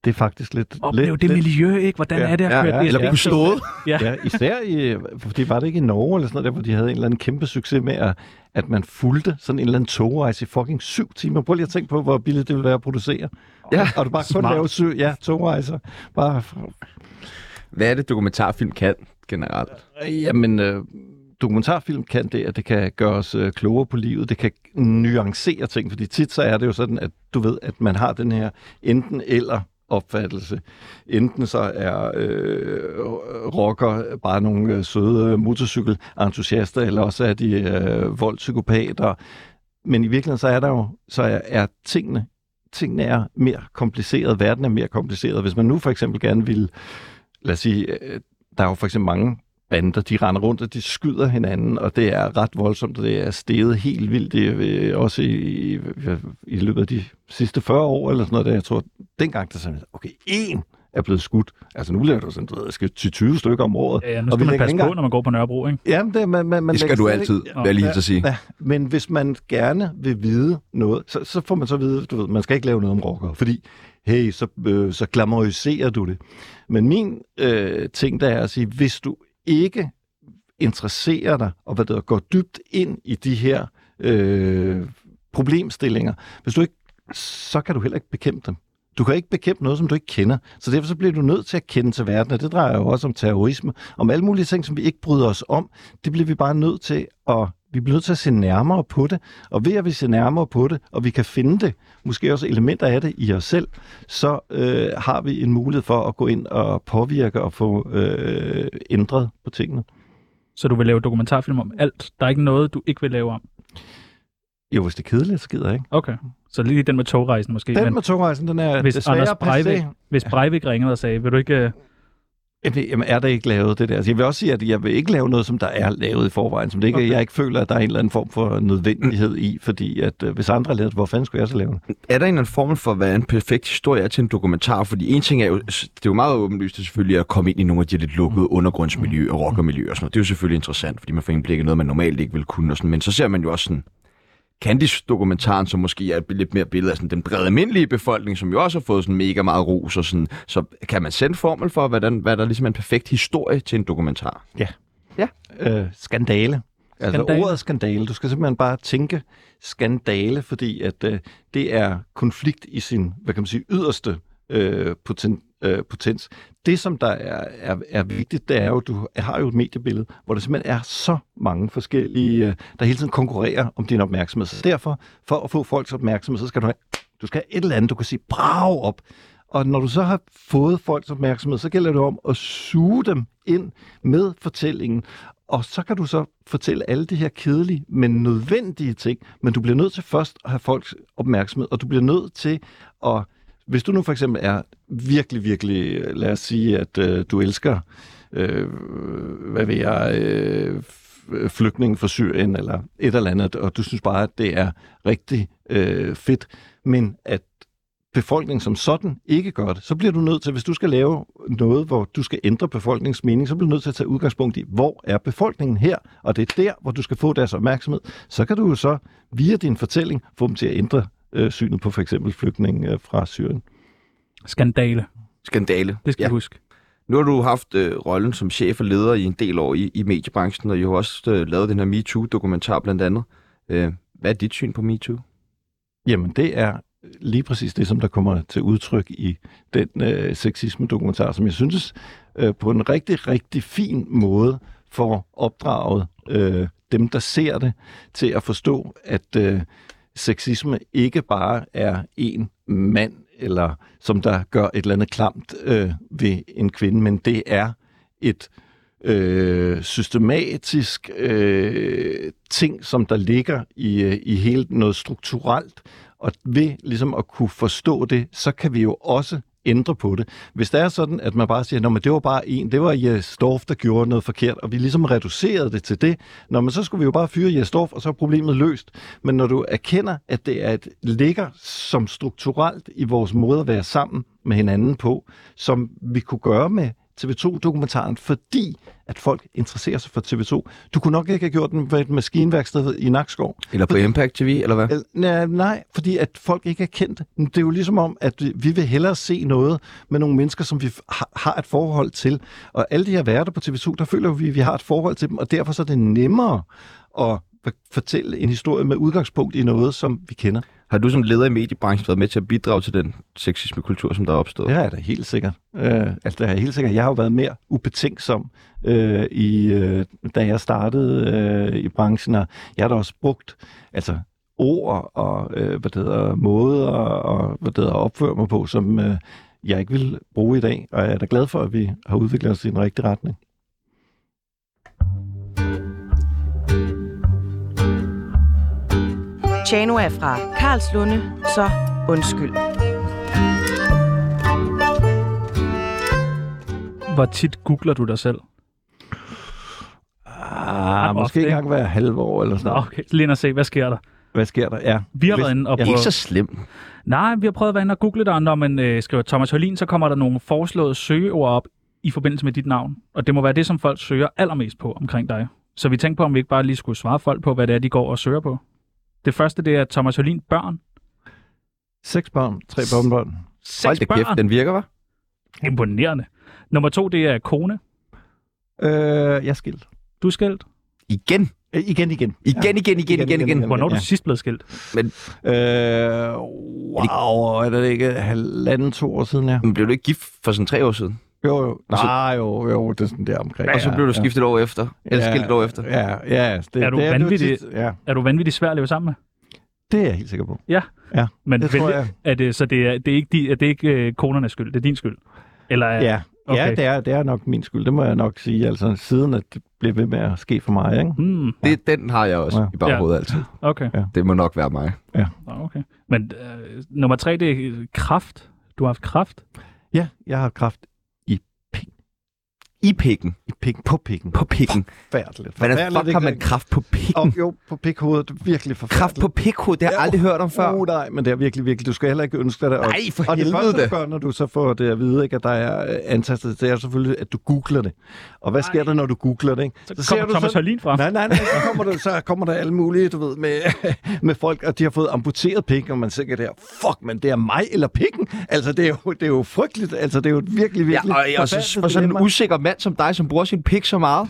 Det er faktisk lidt...
Oplev det miljø, ikke? Hvordan
Ja,
er det at
ja,
køre
ja,
det?
eller
Ja.
blev slået?
Ja, især i, fordi var det ikke i Norge eller sådan noget der, hvor de havde en eller anden kæmpe succes med, at, at man fulgte sådan en eller anden togrejse i fucking syv timer. Prøv lige at tænke på, hvor billigt det ville være at producere.
Ja,
og du bare kun
smart.
lave syv ja, togrejser. Bare,
Hvad er det, dokumentarfilm kan generelt?
jamen, øh, dokumentarfilm kan det, at det kan gøre os øh, klogere på livet. Det kan nuancere ting, fordi tit så er det jo sådan, at du ved, at man har den her enten eller opfattelse. Enten så er øh, rocker bare nogle øh, søde motorcykelentusiaster, eller også er de øh, voldpsykopater. Men i virkeligheden så er der jo, så er, er tingene, tingene er mere komplicerede, verden er mere kompliceret. Hvis man nu for eksempel gerne ville, lad os sige, øh, der er jo for eksempel mange bander, de render rundt, og de skyder hinanden, og det er ret voldsomt, og det er steget helt vildt, det er, øh, også i, i, i løbet af de sidste 40 år, eller sådan noget, der, jeg tror, dengang, der sagde man, okay, én er blevet skudt. Altså nu bliver det jo sådan, du ved, skal til 20 stykker om året.
Ja, nu
Og vi
skal man
lægger
passe
ikke
på, når man går på Nørrebro, ikke?
Jamen, det, man, man, man
Det skal
lægger
du
slet ikke-
altid, vil jeg lige så sige.
Ja, men hvis man gerne vil vide noget, så, så får man så at vide, du ved, man skal ikke lave noget om rockere, fordi hey, så, øh, så glamouriserer du det. Men min øh, ting der er at sige, hvis du ikke interesserer dig, og hvad der går dybt ind i de her øh, problemstillinger, hvis du ikke, så kan du heller ikke bekæmpe dem. Du kan ikke bekæmpe noget, som du ikke kender. Så derfor så bliver du nødt til at kende til verden, og det drejer jo også om terrorisme, om alle mulige ting, som vi ikke bryder os om. Det bliver vi bare nødt til at vi bliver nødt til at se nærmere på det, og ved at vi ser nærmere på det, og vi kan finde det, måske også elementer af det i os selv, så øh, har vi en mulighed for at gå ind og påvirke og få øh, ændret på tingene.
Så du vil lave dokumentarfilm om alt. Der er ikke noget, du ikke vil lave om.
Jo, hvis det er kedeligt, så gider jeg ikke.
Okay. Så lige den med togrejsen måske.
Den
men
med togrejsen, den er
hvis
desværre
Anders
passé.
Breivik, hvis Breivik ringede og sagde, vil du ikke... øh,
Jamen, Jamen, er der ikke lavet det der? Altså, jeg vil også sige, at jeg vil ikke lave noget, som der er lavet i forvejen, som det ikke,
Okay.
okay. jeg ikke føler, at der er en eller anden form for nødvendighed i, fordi at, øh, hvis andre har lavet det, hvor fanden skulle jeg så lave
Er
det?
der en eller anden formel for, hvad en perfekt historie er til en dokumentar? Fordi en ting er jo, det er jo meget åbenlyst selvfølgelig at komme ind i nogle af de lidt
Mm.
lukkede undergrundsmiljø og rockermiljø og sådan noget. Det er jo selvfølgelig interessant, fordi man får indblik i noget, man normalt ikke ville kunne og sådan. Men så ser man jo også sådan Candice-dokumentaren, som måske er et lidt mere billede af sådan den brede almindelige befolkning, som jo også har fået sådan mega meget ros og sådan. Så kan man sende formel for, hvordan, hvad der ligesom er en perfekt historie til en dokumentar?
Øh, skandale. Altså
Skandale.
skandale. ordet skandale. Du skal simpelthen bare tænke skandale, fordi at øh, det er konflikt i sin, hvad kan man sige, yderste øh, poten, øh, potens. Det, som der er, er, er vigtigt, det er jo, du har jo et mediebillede, hvor der simpelthen er så mange forskellige, øh, der hele tiden konkurrerer om din opmærksomhed. Så derfor, for at få folks opmærksomhed, så skal du have, du skal have et eller andet, du kan sige brav op. Og når du så har fået folks opmærksomhed, så gælder det om at suge dem ind med fortællingen. Og så kan du så fortælle alle de her kedelige, men nødvendige ting. Men du bliver nødt til først at have folks opmærksomhed, og du bliver nødt til at... Hvis du nu for eksempel er virkelig, virkelig... øh, Lad os sige, at øh, du elsker... Øh, hvad ved jeg... Øh, f- flygtninge fra Syrien eller et eller andet, og du synes bare, at det er rigtig øh, fedt, men at befolkningen som sådan ikke gør det, så bliver du nødt til, hvis du skal lave noget, hvor du skal ændre befolkningens mening, så bliver du nødt til at tage udgangspunkt i, hvor er befolkningen her, og det er der, hvor du skal få deres opmærksomhed. Så kan du jo så via din fortælling få dem til at ændre øh, synet på for eksempel flygtninge øh, fra Syrien.
Skandale.
Skandale.
Det skal
Ja.
ja. du huske.
Nu har du haft øh, rollen som chef og leder i en del år i, i mediebranchen, og I har også øh, lavet den her MeToo-dokumentar blandt andet. Øh, hvad er dit syn på MeToo?
Jamen, det er lige præcis det, som der kommer til udtryk i den øh, sexisme-dokumentar, som jeg synes øh, på en rigtig, rigtig fin måde får opdraget øh, dem, der ser det, til at forstå, at øh, sexisme ikke bare er en mand, eller som der gør et eller andet klamt øh, ved en kvinde, men det er et øh, systematisk øh, ting, som der ligger i, øh, i hele noget strukturelt. Og ved ligesom at kunne forstå det, så kan vi jo også ændre på det. Hvis det er sådan, at man bare siger, at det var bare en, det var Jes Dorf, der gjorde noget forkert, og vi ligesom reducerede det til det, når man så skulle vi jo bare fyre Jes Dorf, og så er problemet løst. Men når du erkender, at det er et ligger som strukturelt i vores måde at være sammen med hinanden på, som vi kunne gøre med TV2-dokumentaren, fordi at folk interesserer sig for TV2. Du kunne nok ikke have gjort den ved et maskinværksted i Nakskov.
Eller på Impact TV, eller hvad?
Eller- Nej, nej, fordi at folk ikke er kendt. Det er jo ligesom om, at vi- vi vil hellere se noget med nogle mennesker, som vi f- har- har et forhold til. Og alle de her værter på TV2, der føler vi, at vi har et forhold til dem, og derfor så er det nemmere at f- fortælle en historie med udgangspunkt i noget, som vi kender.
Har du som leder i mediebranchen været med til at bidrage til den sexisme-kultur, som der er opstået?
Det er jeg da helt sikkert. Øh, altså, det er jeg helt sikkert. Jeg har jo været mere ubetænksom, øh, i, øh, da jeg startede øh, i branchen, og jeg har da også brugt altså, ord og øh, hvad det hedder, måder og hvad det hedder, at opføre mig på, som øh, jeg ikke vil bruge i dag. Og jeg er da glad for, at vi har udviklet os i den rigtige retning.
Tjano er fra Karlslunde, så undskyld.
Hvor tit googler du dig selv?
Ah,
måske ofte,
måske
ikke
ikke
ikke?
engang hver halve år eller sådan
Nå,
noget.
okay. Lige ind og se, hvad sker der?
Hvad sker der? Ja.
Vi har været inde og
Det er
prøve...
ikke så slemt.
Nej, vi har prøvet at være inde og google dig, og når man øh, skriver Thomas Hølin, så kommer der nogle foreslåede søgeord op i forbindelse med dit navn. Og det må være det, som folk søger allermest på omkring dig. Så vi tænkte på, om vi ikke bare lige skulle svare folk på, hvad det er, de går og søger på. Det første, det er Thomas Hølin børn.
Seks børn, tre børnbørn.
Hold
Seks
da
børn.
kæft, den virker, hva'?
Imponerende. Nummer to, det er kone.
Øh, jeg er skilt.
Du er skilt.
Igen.
Øh, igen, igen.
Igen, igen, igen, igen, igen. igen.
Hvornår er du
Ja.
sidst blevet skilt?
Øh, wow, er det ikke halvanden, to år siden, ja?
Men blev du ikke gift for sådan tre år siden?
Jo, jo.
Og så-
Nej, jo, jo, det er sådan der omkring.
Og så blev du skiftet over efter. Eller skilt et år efter.
Ja, ja. Det,
Er du
det, det var
vanvittig?
tit- ja,
Er du vanvittigt svær at leve sammen med?
det er jeg helt sikker på.
Men
Det tror
vælge-
jeg.
Er det, så det er, det er ikke, de, er det ikke øh, konernes skyld, det er din skyld? Eller er,
Ja, ja.
okay.
Okay. ja det, er, det er nok min skyld, det må jeg nok sige. Altså, siden at det blev ved med at ske for mig, ikke?
Hmm,
Det, den har jeg også
Ja.
i baghovedet altid.
okay.
Det må nok være mig.
Nå, okay. Men øh, nummer tre, det er øh, kraft. Du har haft kraft.
Ja, jeg har kraft
I pikken.
i pik, på pikken.
På pikken.
Forfærdeligt.
Hvordan fuck
Forfærdeligt,
har man
ikke?
kraft på pikken?
Åh, jo, på pikhovedet, det er virkelig
Kraft
forfærdeligt.
på pikhoved, det har jeg
Ja.
aldrig hørt om før.
Oh, nej, men det er virkelig, virkelig. Du skal heller ikke ønske dig det. Og,
Nej, for
og det første,
helvede.
du gør, når du så får det at vide, ikke, at der er øh, antastet, det er selvfølgelig, at du googler det. Og hvad sker der, når du googler det? Ikke?
Så, så kommer Thomas
sådan,
Hørlin frem.
Nej, nej, nej, så kommer, der, så kommer der alle mulige, du ved, med, med folk, og de har fået amputeret pik, og man sikkert der, fuck, men det er mig eller pikken. Altså, det er jo, det er jo frygteligt. Altså, det er jo et virkelig,
Ja,
virkelig...
og jeg også
forfærdeligt
for sådan en
dilemma.
usikker mand som dig, som bruger sin pik så meget.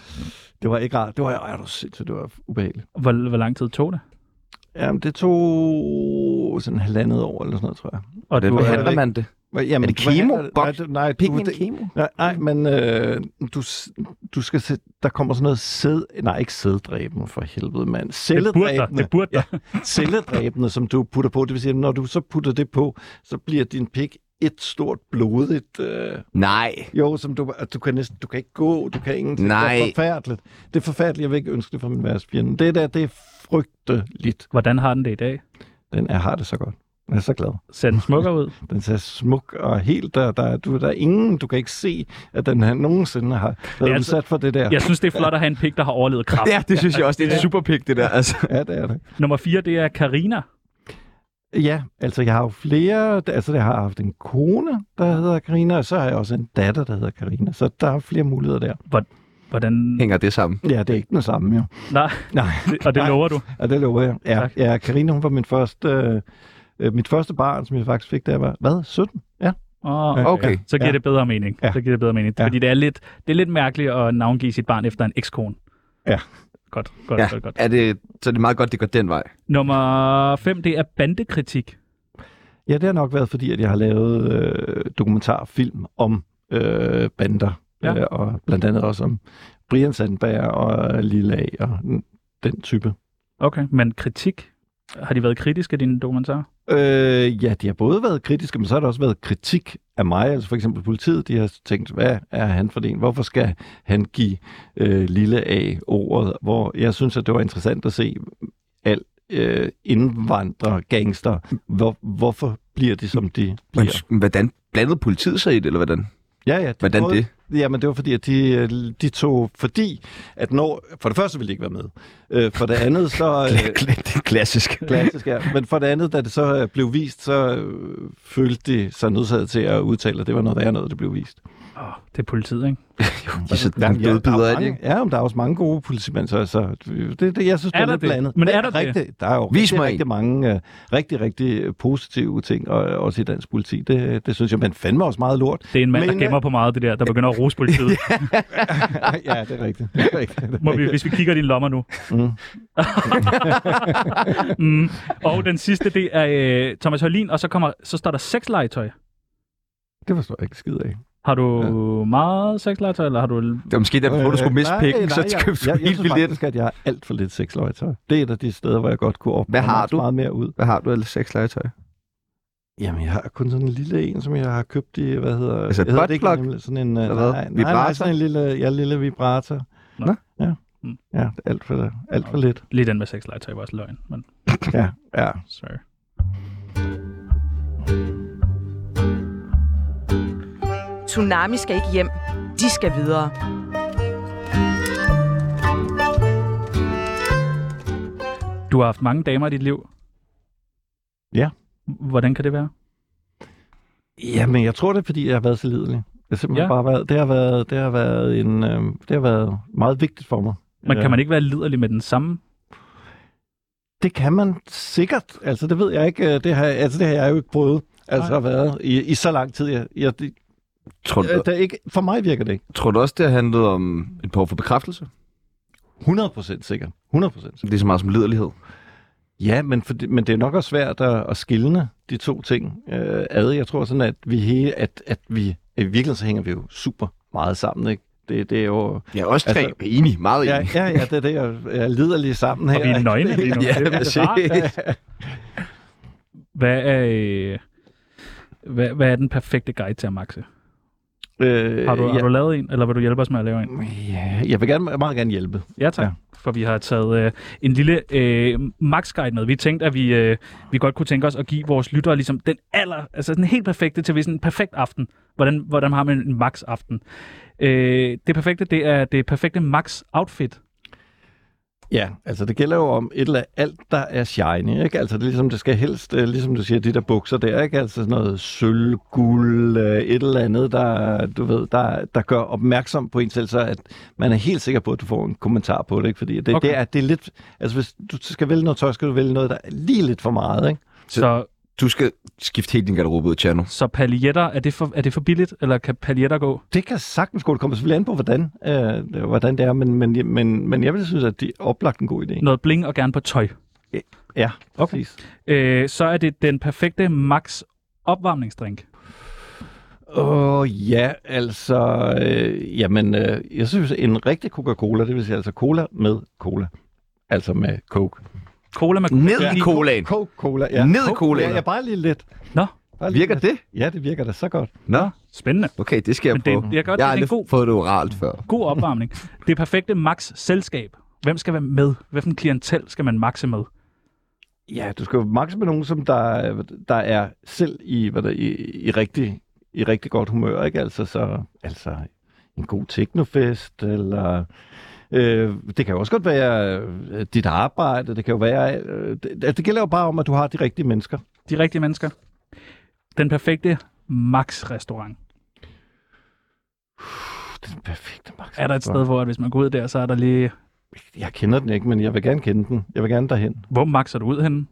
Det var ikke rart. Det var, ej, du er sindssygt, det var ubehageligt.
Hvor, hvor lang tid tog det?
Jamen, det tog sådan halvandet år eller sådan noget, tror jeg.
Og
Hvordan
du,
behandler-
behandler
det-
man det?
Jamen,
Er det kemo?
Nej,
Boks?
det- nej, du,
Pikken er
det,
en kemo.
Nej, nej men øh, du, s- du skal se, der kommer sådan noget sæd... Nej, ikke sæddræbende for helvede, mand.
det burde dig.
Celledræbende.
Det burde dig.
Celledræbende, som du putter på. Det vil sige, at når du så putter det på, så bliver din pik et stort blodigt... Øh,
Nej.
jo, som du, at du, kan næsten, du kan ikke gå, du kan ingenting.
Nej.
Det er forfærdeligt. Det er forfærdeligt, jeg vil ikke ønske det for min værtsfjende. Det der, det er frygteligt.
Hvordan har den det i dag?
Den er, har det så godt. Jeg er så glad.
Ser den smukkere ud?
Den ser smuk og helt der. Der, er- du, der er ingen, du kan ikke se, at den her nogensinde har været
Ja,
ja,
altså-
udsat for det der.
Jeg synes, det er flot at have en pik, der har overlevet kraft.
Ja, det synes jeg også. Det er en super pik, det der. Altså.
Ja, det er det.
Nummer fire, det er Karina.
Ja, altså jeg har jo flere, altså jeg har haft en kone, der hedder Karina, og så har jeg også en datter, der hedder Karina, så der er flere muligheder der.
Hvordan...
Hænger det sammen?
Ja, det er ikke den samme jo.
Nej,
Nej,
og det lover du.
og det lover jeg. Ja,
Tak.
ja Karina, hun var min første, øh, øh, mit første barn, som jeg faktisk fik, da jeg var, hvad, 17? Ja,
Oh,
Okay.
Så giver
Ja.
det bedre mening.
Ja.
Så giver det bedre mening.
Ja.
Fordi det er, lidt, det er lidt mærkeligt at navngive sit barn efter en ekskone.
Ja.
Godt, godt,
Ja.
ja. godt, godt.
Er det, så er det meget godt, det går den vej.
Nummer 5, det er bandekritik.
ja det har nok været, fordi at jeg har lavet øh, dokumentarfilm om øh, bander,
Ja.
ja. øh, og blandt andet også om Brian Sandberg og Lille A og den- den type.
Okay, men kritik? Har de været kritiske, dine dokumentarer?
Øh, ja, de har både været kritiske, men så har der også været kritik af mig. Altså for eksempel politiet, de har tænkt, hvad er han for en? Hvorfor skal han give øh, lille A ordet? Hvor jeg synes, at det var interessant at se al øh, indvandrer, gangster. Hvor, hvorfor bliver de, som de
Men,
bliver.
hvordan blandede politiet sig i det, eller hvordan?
Ja, ja. De
Hvordan
prøvede-
det?
Jamen, det var fordi, at de, øh, de tog... Fordi, at når... For det første ville de ikke være med. Øh, for det andet, så... øh,
det er klassisk.
Klassisk, ja. Men for det andet, da det så øh, blev vist, så øh, følte de sig nødsaget til at udtale, at det var noget værre noget, det blev vist.
Åh, det er politiet, ikke?
De er så
Ja,
nogle
der er jo
dødbider af det,
mange-
ikke?
Ja, men der er også mange gode politimænd, så altså, det, det, jeg synes,
Er
det er
der
lidt
det?
blandet.
Men er
Ja,
der det?
rigtig, Der er jo
Vis
rigtig,
mig en.
rigtig mange øh, rigtig, rigtig positive ting, og, øh, også i dansk politi. Det, det synes jeg, men fandme også meget lort.
Det er en mand,
men,
der gemmer på meget af det der, der begynder at rose politiet.
øh, ja, det er rigtigt. Det er rigtigt. Det er
Må vi,
rigtigt.
hvis vi kigger i dine lommer nu. Mm. mm. Og den sidste, det er øh, Thomas Hørlin, og så, kommer, så står der sexlegetøj.
Det forstår jeg ikke skid af.
Har du ja. meget sexlegetøj, eller har du...
Det var måske der, hvor du skulle miste
nej,
pikken,
nej,
så
jeg-
købte du
jeg, jeg,
helt
synes
billet.
faktisk, at jeg har alt for lidt sexløjtøj. Det er et af de steder, hvor jeg godt kunne opnå
Hvad har du?
meget mere ud.
Hvad har du af sexlegetøj?
Jamen, jeg har kun sådan en lille en, som jeg har købt i, hvad hedder...
Altså et
hedder det
buttplug?
nemlig? Sådan en, øh,
Eller
nej,
hvad?
nej, nej,
Vibrator?
sådan en lille, ja, lille vibrator.
Nå.
Ja.
Mm.
Ja, det er alt for, alt for lidt.
Lige den med sexlegetøj var også løgn, men
Ja, ja.
sorry.
Tsunami skal ikke hjem. De skal videre.
Du har haft mange damer i dit liv.
Ja.
Hvordan kan det være?
Jamen, jeg tror det er, fordi jeg har været så lidelig. Jeg har simpelthen
Ja.
ja. bare været, det har været, det har været en, øh, det har været meget vigtigt for mig.
Men
Øh,
kan man ikke være liderlig med den samme?
Det kan man sikkert. Altså, det ved jeg ikke. øh, Det har, altså, det har jeg jo ikke prøvet. Altså,
Nej.
har været i, i så lang tid. Jeg, jeg, det,
Tror du,
jeg, der ikke, for mig virker det ikke.
tror du også, det har handlet om et behov for bekræftelse?
100% sikkert. 100% sikkert.
Det er så meget som liderlighed.
Ja, men, for, men det er nok også svært at, at skille de to ting øh, ad. Jeg tror sådan, at vi hele, at, at vi, i virkeligheden så hænger vi jo super meget sammen, ikke? Det, det er jo...
Ja, også tre.
Altså-
Altså, enig, meget
Ja,
enig.
ja, ja det er det, jeg, jeg lider lige sammen her.
Og vi er
ikke?
nøgne lige nu.
Ja,
Det er lidt rart.
præcis.
Hvad er, øh, hvad, hvad er den perfekte guide til at makse?
Øh,
Har du,
ja,
har du lavet en, eller vil du hjælpe os med at lave en?
ja, jeg vil gerne, meget gerne hjælpe.
Ja tak, ja.
Ja.
for vi har taget øh, en lille øh, max-guide med. Vi tænkte, at vi, øh, vi godt kunne tænke os at give vores lyttere ligesom den aller, altså den helt perfekte til hvis en perfekt aften. Hvordan, hvordan har man en max-aften? Øh, det perfekte, det er det perfekte max-outfit.
Ja, altså det gælder jo om et eller alt, der er shiny, ikke? Altså det er ligesom, det skal helst, øh, ligesom du siger, de der bukser der, ikke? Altså sådan noget sølv, guld, øh, et eller andet, der, du ved, der, der gør opmærksom på en selv, så at man er helt sikker på, at du får en kommentar på det, ikke? Fordi det,
Okay.
okay. det, er, det er lidt, altså hvis du skal vælge noget tøj, skal du vælge noget, der er lige lidt for meget, ikke?
Så-
Så,
Du skal skifte helt din garderobe ud, Tjerno.
så paljetter, er det, for, er det for billigt, eller kan paljetter gå?
Det kan sagtens gå, det kommer selvfølgelig an på, hvordan, øh, hvordan det er, men, men, men, men jeg vil synes, at det er oplagt en god idé.
Noget bling og gerne på tøj.
Ja,
Okay.
præcis.
Øh, så er det den perfekte max-opvarmningsdrink.
Åh, oh, ja, altså, øh, jamen, øh, jeg synes, en rigtig Coca-Cola, det vil sige altså cola med cola. Altså med Coke.
Cola med
Ned i colaen.
Coke-Cola, ja.
Ned i
Coke,
colaen.
Ja, ja, bare lige lidt.
Nå,
Bare lige
Virker
lidt.
det?
Ja, det virker da så godt.
Nå,
spændende.
okay, det skal jeg
Men det,
prøve.
jeg kan godt
jeg har
lide, det
aldrig
er en god
fået det oralt før.
God opvarmning. Det perfekte max-selskab. Hvem skal være med? Hvilken klientel skal man makse med?
Ja, du skal jo max med nogen, som der, der er selv i, hvad der, i, i, rigtig, i rigtig godt humør, ikke? Altså, så, altså en god teknofest, eller... Øh, det kan jo også godt være øh, dit arbejde, det kan jo være... Øh, det, det gælder jo bare om, at du har de rigtige mennesker.
De rigtige mennesker. Den perfekte max-restaurant.
Den perfekte Max.
Er der et sted, hvor at hvis man går ud der, så er der lige...
Jeg kender den ikke, men jeg vil gerne kende den. Jeg vil gerne derhen.
Hvor maxer du ud henne?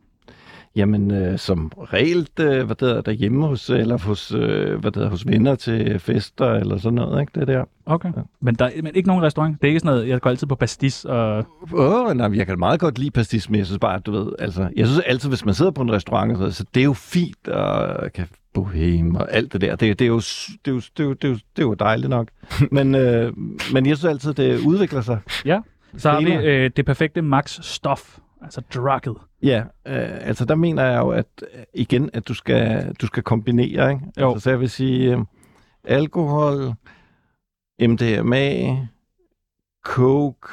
Jamen, øh, som regel, øh, hvad der derhjemme hos, eller hos, øh, hvad der hos venner til fester eller sådan noget, ikke? Det der.
Okay. Men, der, men ikke nogen restaurant. Det er ikke sådan noget, jeg går altid på Pastis og...
Åh, oh, nej, men jeg kan meget godt lide pastis, men jeg synes bare, at du ved, altså, jeg synes altid, hvis man sidder på en restaurant, og sådan noget, så det er jo fint, og kan bohem og alt det der. Det, det, er, jo, s- det, er, jo, det, er, jo, det, er, jo, det er jo dejligt nok. Men, øh, men jeg synes altid, det udvikler sig.
Ja. Så har vi
Senere.
øh, det perfekte max-stof. Altså drugget.
Ja, øh, altså der mener jeg jo, at øh, igen, at du skal, du skal kombinere, ikke?
Jo.
Altså, så jeg vil sige, øh, alkohol, MDMA, coke,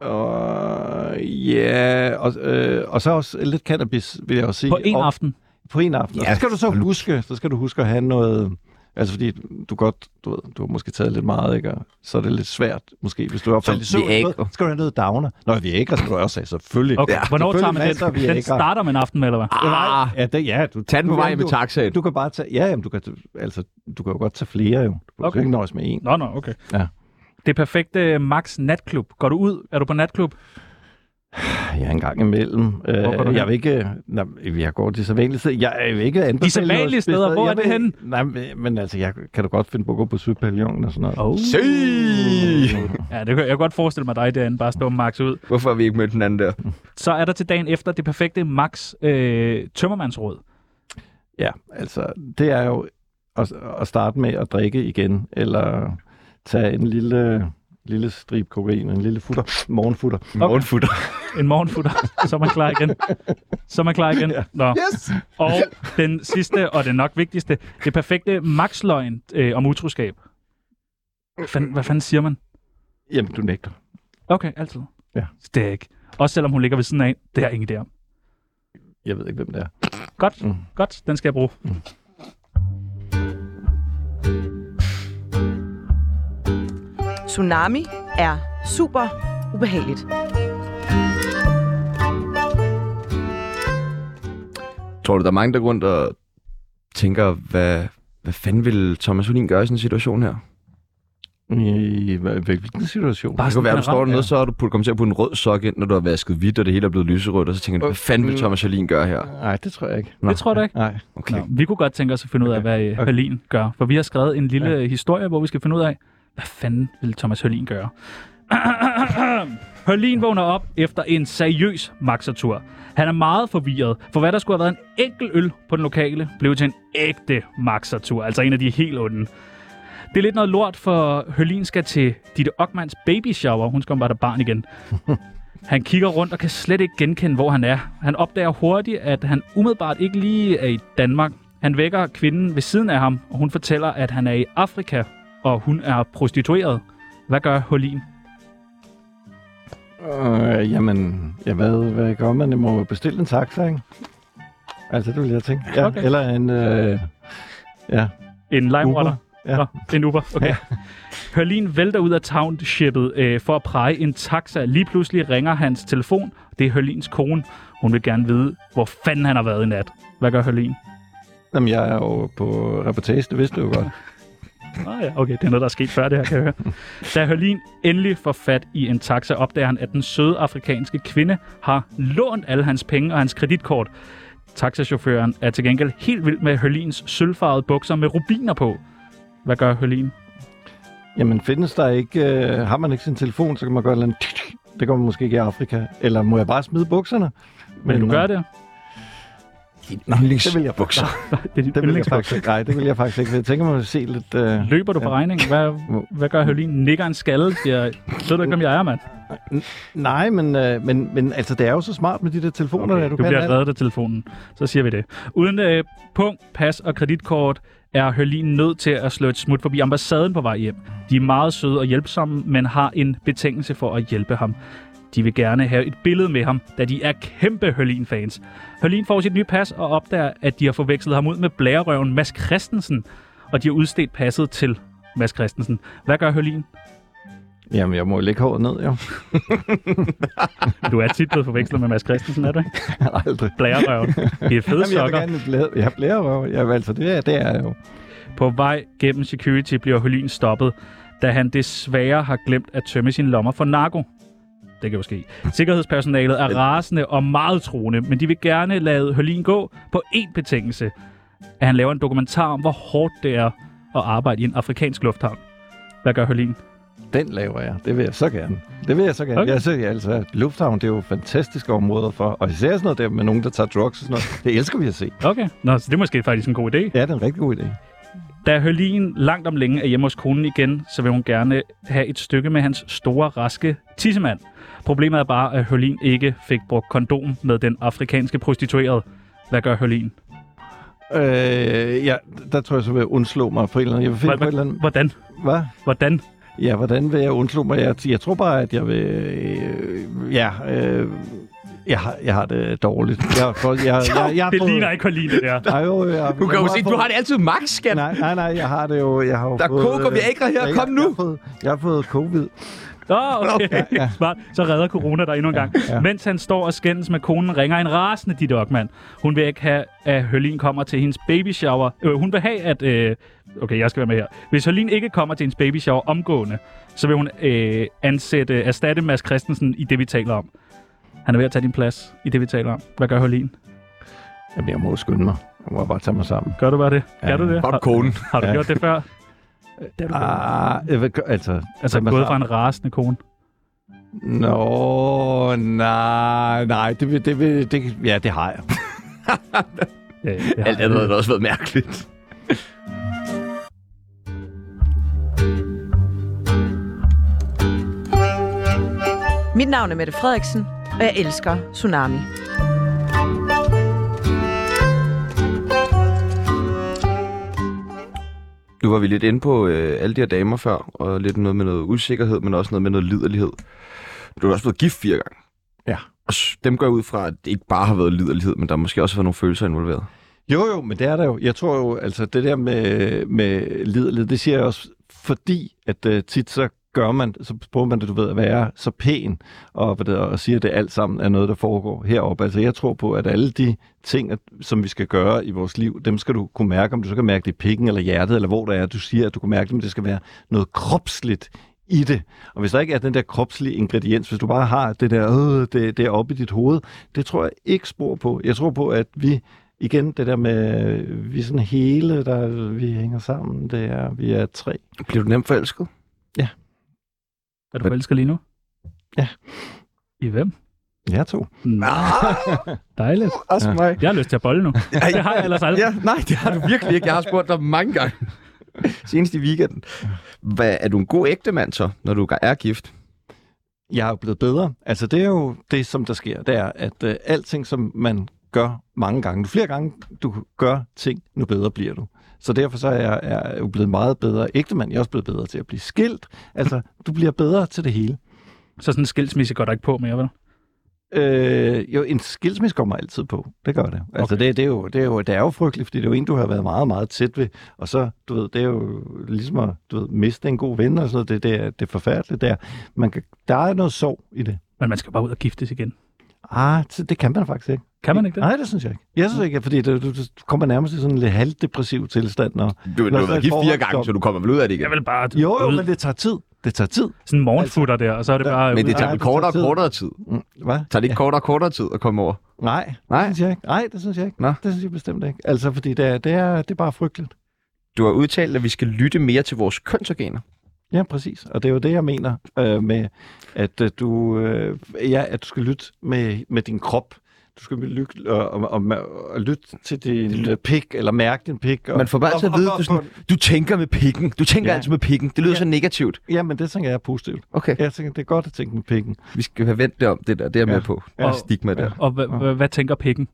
og ja, og, øh, og så også lidt cannabis, vil jeg også sige.
På en
og,
aften.
på en aften. Ja,
Ja,
så skal du så
hold nu-
huske, så skal du huske at have noget... Altså fordi du godt, du, ved, du har måske taget lidt meget, ikke? Og så er det lidt svært, måske, hvis du er opfaldet i søvn.
Viagra.
så Skal du have noget downer? Nå, vi er ikke, skal du også have, selvfølgelig.
Okay, ja, hvornår tager man
masser af
den? Den
Viagra.
starter man aften med, eller hvad?
Ah,
Ja, det, ja, du,
tag den på
du-
vej med
du-
taxaen.
Du kan bare tage, ja, jamen, du kan, altså, du kan jo godt tage flere, jo. Du kan
Okay.
okay. ikke nøjes med en.
Nå, nå, okay.
Ja.
Det perfekte Max natklub. Går du ud? Er du på natklub?
Ja, en gang imellem.
går du
Øh,
hen?
jeg vil ikke... Nej, jeg går de sædvanlige steder. Jeg vil ikke anbefale...
De sædvanlige
noget
steder?
specielt.
Hvor er
Jeg
det
vil-
henne?
Nej, men- men altså, jeg kan da godt finde på at gå på Sydpavillonen og sådan noget.
Oh.
se!
Ja, det kan, jeg kan godt forestille mig dig derinde, bare stå med Max ud.
Hvorfor har vi ikke mødt den anden der?
Så er der til dagen efter det perfekte Max øh, tømmermandsråd.
Ja, altså, det er jo at, at starte med at drikke igen, eller tage en lille, lille strib kokain, en lille futter, morgenfutter.
Morgenfutter.
En morgenfutter, så er man klar igen. Så er man klar igen. Nå.
Yes!
Og den sidste, og den nok vigtigste, det perfekte Max-løgn øh, om utroskab. Fand, hvad fanden siger man?
Jamen, du nægter.
Okay, altid.
Ja.
Det er jeg ikke. Også selvom hun ligger ved siden af, det er ingen der.
Jeg ved ikke, hvem det er.
Godt, mm.
Mm.
godt, den skal jeg bruge.
Tsunami er super ubehageligt.
Tror du, der er mange, der går rundt og tænker, hvad, hvad fanden vil Thomas Olin gøre i sådan en situation her?
I hvad- hvilken situation?
Bare
Det kunne være, du står
generelt,
dernede, så er du puttet, kommet til at putte en rød sok ind, når du har vasket hvidt, og det hele er blevet lyserødt, og så tænker du, hvad fanden vil Thomas Olin gøre her?
Øh. Nej, det tror jeg ikke.
Det tror jeg da ikke.
Nej.
Okay.
Nå, vi kunne godt tænke os at finde ud af, hvad øh, Hørlin gør. For vi har skrevet en lille ja. historie, hvor vi skal finde ud af, hvad fanden vil Thomas Hørlin gøre? Hørlin vågner op efter en seriøs maxertur. Han er meget forvirret, for hvad der skulle have været en enkelt øl på den lokale, blev til en ægte maxertur. Altså en af de helt onde. Det er lidt noget lort, for Hørlin skal til Ditte Ockmans baby shower. Hun skal bare der barn igen. Han kigger rundt og kan slet ikke genkende, hvor han er. Han opdager hurtigt, at han umiddelbart ikke lige er i Danmark. Han vækker kvinden ved siden af ham, og hun fortæller, at han er i Afrika, og hun er prostitueret. Hvad gør Holin?
Øh, jamen, ja, hvad, hvad gør man? Jeg må jo bestille en taxa, ikke? Altså, det vil jeg tænke. Ja,
Okay.
okay. Eller en... Øh, ja,
En limewater?
Uber. Ja.
Nå, en Uber, okay. Ja. Hørlin vælter ud af townshipet øh, for at præge en taxa. Lige pludselig ringer hans telefon. Det er Hørlins kone. Hun vil gerne vide, hvor fanden han har været i nat. Hvad gør Hørlin?
Jamen, jeg er jo på reportage, det vidste du jo godt.
Ah, ja. Okay, det er noget, der er sket før det her, kan jeg høre. Da Hørlin endelig får fat i en taxa, opdager han, at den søde afrikanske kvinde har lånt alle hans penge og hans kreditkort. Taxachaufføren er til gengæld helt vild med Hørlins sølvfarvede bukser med rubiner på. Hvad gør Hørlin?
Jamen, findes der ikke... Øh, har man ikke sin telefon, så kan man gøre et eller andet... tik, tik. Det kommer måske ikke i Afrika. Eller må jeg bare smide bukserne? øh,
Vil du gøre det?
Nej, det vil jeg bukser.
Det er dit
Det vil jeg
yndlingsbukser.
faktisk ikke. Nej, det vil jeg faktisk ikke. Jeg tænker mig at se lidt... Øh,
Løber du på regningen? Hvad, hvad gør Hørlin? Nikker en skalle, siger, ved du ikke, om jeg er, mand?
nej, men, øh, men, men altså, det er jo så smart med de der telefoner, der,
Okay,
du,
du
kan
bliver
alt.
reddet af telefonen. Så siger vi det. Uden øh, punkt, pas og kreditkort er Hørlin nødt til at slå et smut forbi ambassaden på vej hjem. De er meget søde og hjælpsomme, men har en betingelse for at hjælpe ham. De vil gerne have et billede med ham, da de er kæmpe Hørlin-fans. Hørlin får sit nye pas og opdager, at de har forvekslet ham ud med blærerøven Mads Christensen, og de har udstedt passet til Mads Christensen. Hvad gør Hørlin?
Jamen, jeg må jo lægge håret ned, jo.
Du er tit blevet forvekslet med Mads Christensen, er du ikke?
Aldrig.
Blærerøven. Det er fede
Jamen, jeg vil
sokker.
gerne blære, jeg blærer jo. Jamen, altså, det er, det er jo.
På vej gennem security bliver Hølin stoppet, da han desværre har glemt at tømme sine lommer for narko. Det kan jo ske. Sikkerhedspersonalet er rasende og meget troende, men de vil gerne lade Hølin gå på én betingelse. At han laver en dokumentar om, hvor hårdt det er at arbejde i en afrikansk lufthavn. Hvad gør Hølin?
Den laver jeg. Det vil jeg så gerne. Det vil jeg så gerne.
Okay.
Okay. Jeg synes, jeg, altså, lufthavn, det er jo fantastiske områder for. Og især sådan noget der med nogen, der tager drugs og sådan noget. Det elsker vi at se.
Okay, Nå, så det er måske faktisk en god idé.
Ja, det er en rigtig god idé.
Da Hølin langt om længe er hjemme hos konen igen, så vil hun gerne have et stykke med hans store, raske tissemand. Problemet er bare, at Hølin ikke fik brugt kondom med den afrikanske prostituerede. Hvad gør Hølin?
Øh, ja, der tror jeg så, vil jeg undslå mig på en eller anden. Jeg vil finde på et eller andet.
Hvordan?
Hvad?
Hvordan?
Ja, hvordan vil jeg undslå mig? Jeg, jeg tror bare, at jeg vil... Øh, ja, øh, Jeg har, jeg har det dårligt. Jeg, har fået- jeg, jeg, jeg, jeg har
Det
fået-
ligner ikke Colin, det der.
Ej, jo, jeg,
Du kan jo se, du har
det.
det altid max, skat.
Nej, nej, nej, jeg har det jo. Jeg har jo
Der er
fået,
coke og
øh,
Viagra her.
jeg-
Kom nu.
Jeg har fået, jeg har fået covid.
Nå, okay. Smart. Så redder corona dig endnu en gang.
ja.
Mens han står og skændes med konen, ringer en rasende dit Ockmann. Hun vil ikke have, at Hølin kommer til hendes baby shower. Øh, hun vil have, at... Øh, okay, jeg skal være med her. Hvis Hølin ikke kommer til hendes baby shower omgående, så vil hun øh, ansætte, erstatte Mads Christensen i det, vi taler om. Han er ved at tage din plads i det, vi taler om. Hvad gør Hølin?
Jamen, jeg må skynde mig. Jeg må bare tage mig sammen. Ah,
Gør du bare det?
Ja,
Gør du det?
Fuck
Har,
konen.
har du
Ja.
gjort det før? Det har du
Ah, jeg vil, gø- altså...
altså,
tage mig
gået fra
sammen.
en rasende kone.
Nå, nej, nej, det, vil- det, det, det, ja, det har jeg.
Øh, ja.
Alt andet havde også været mærkeligt.
Mit navn er Mette Frederiksen, og jeg elsker Tsunami.
Nu var vi lidt inde på øh, alle de her damer før, og lidt noget med noget usikkerhed, men også noget med noget liderlighed. Du er også blevet gift fire gange.
Ja.
Og s- dem går jeg ud fra, at det ikke bare har været liderlighed, men der har måske også har været nogle følelser involveret.
Jo, jo, men det er der jo. Jeg tror jo, altså det der med, med liderlighed, det siger jeg også, fordi at uh, tit så gør man, så prøver man det, du ved, at være så pæn, og, hvad det, er, og siger, at det alt sammen er noget, der foregår heroppe. Altså jeg tror på, at alle de ting, at, som vi skal gøre i vores liv, dem skal du kunne mærke, om du så kan mærke det i pikken eller hjertet, eller hvor det er, du siger, at du kan mærke det, men det skal være noget kropsligt i det. Og hvis der ikke er den der kropslige ingrediens, hvis du bare har det der, øh, det, det er oppe i dit hoved, det tror jeg ikke spor på. Jeg tror på, at vi igen det der med, øh, vi er sådan hele, der, vi hænger sammen, det er, vi er tre.
Bliver du nemt forelsket?
Er du forelsket lige nu?
Ja.
I hvem?
Jeg er to.
Nå, dejligt.
Ah, Også
Ja.
mig.
Jeg har lyst til at bolle nu. Det har jeg ellers aldrig.
Ja, nej, det har du virkelig ikke. Jeg har spurgt dig mange gange. Senest i weekenden. Hvad, er du en god ægtemand så, når du er gift?
Jeg er jo blevet bedre. Altså det er jo det, som der sker, det er, at øh, alting, som man gør mange gange, jo flere gange du gør ting, nu bedre bliver du. Så derfor så er jeg, er jeg jo blevet meget bedre ægtemand. Jeg er også blevet bedre til at blive skilt. Altså, du bliver bedre til det hele.
Så sådan en skilsmisse går der ikke på mere, vel?
Øh, jo, en skilsmisse kommer altid på. Det gør det. Altså, det, det, er jo, det, er jo, det er jo frygteligt, fordi det er jo en, du har været meget, meget tæt ved. Og så, du ved, det er jo ligesom at du ved, miste en god ven og sådan noget. Det, det, er, det er forfærdeligt der. Man kan, der er noget sorg i det.
Men man skal bare ud og giftes igen.
Ah, så det kan man faktisk ikke.
Kan man ikke det?
Nej, det synes jeg ikke. Jeg synes ikke, fordi det, du, du kommer nærmest i sådan en lidt halvdepressiv tilstand. Og,
Du, du
Nå,
har
så
været
et
gift fire
forhold-
gange, så du kommer vel ud af det igen.
Jeg vil bare du,
jo, jo,
ud,
men det tager tid. Det Altså. tager tid.
sådan en morgenfutter der, og så er det bare...
Men det
ud.
tager
Nej,
vel
det tager
kortere og
tid.
kortere tid.
Mm, Hvad?
Tager det ikke kortere og kortere tid at komme over?
Nej,
Nej.
det synes jeg ikke. Nej, det synes jeg ikke.
Nå.
Det synes jeg bestemt ikke. Altså, fordi det er, det er, det er bare frygteligt.
Du har udtalt, at vi skal lytte mere til vores kønsorganer.
Ja, præcis. Og det er jo det, jeg mener øh, med, at, øh, du, øh, ja, at du skal lytte med, med din krop. Du skal lytte, øh, og, og, og, og lytte til din øh, pik, eller mærke din pik. Og,
Man får bare altid at
og-
vide,
og-
du, sådan, du tænker med pikken. Du tænker
Ja.
altid med pikken. Det lyder
Ja.
så negativt.
Ja, men det tænker jeg er positivt.
Okay.
Jeg tænker, det er godt at tænke med pikken.
Vi skal have vendt det om, det der. Det er jeg med
Ja.
på.
Ja.
Ja. Stigma der.
Og hva, hva, hvad tænker pikken?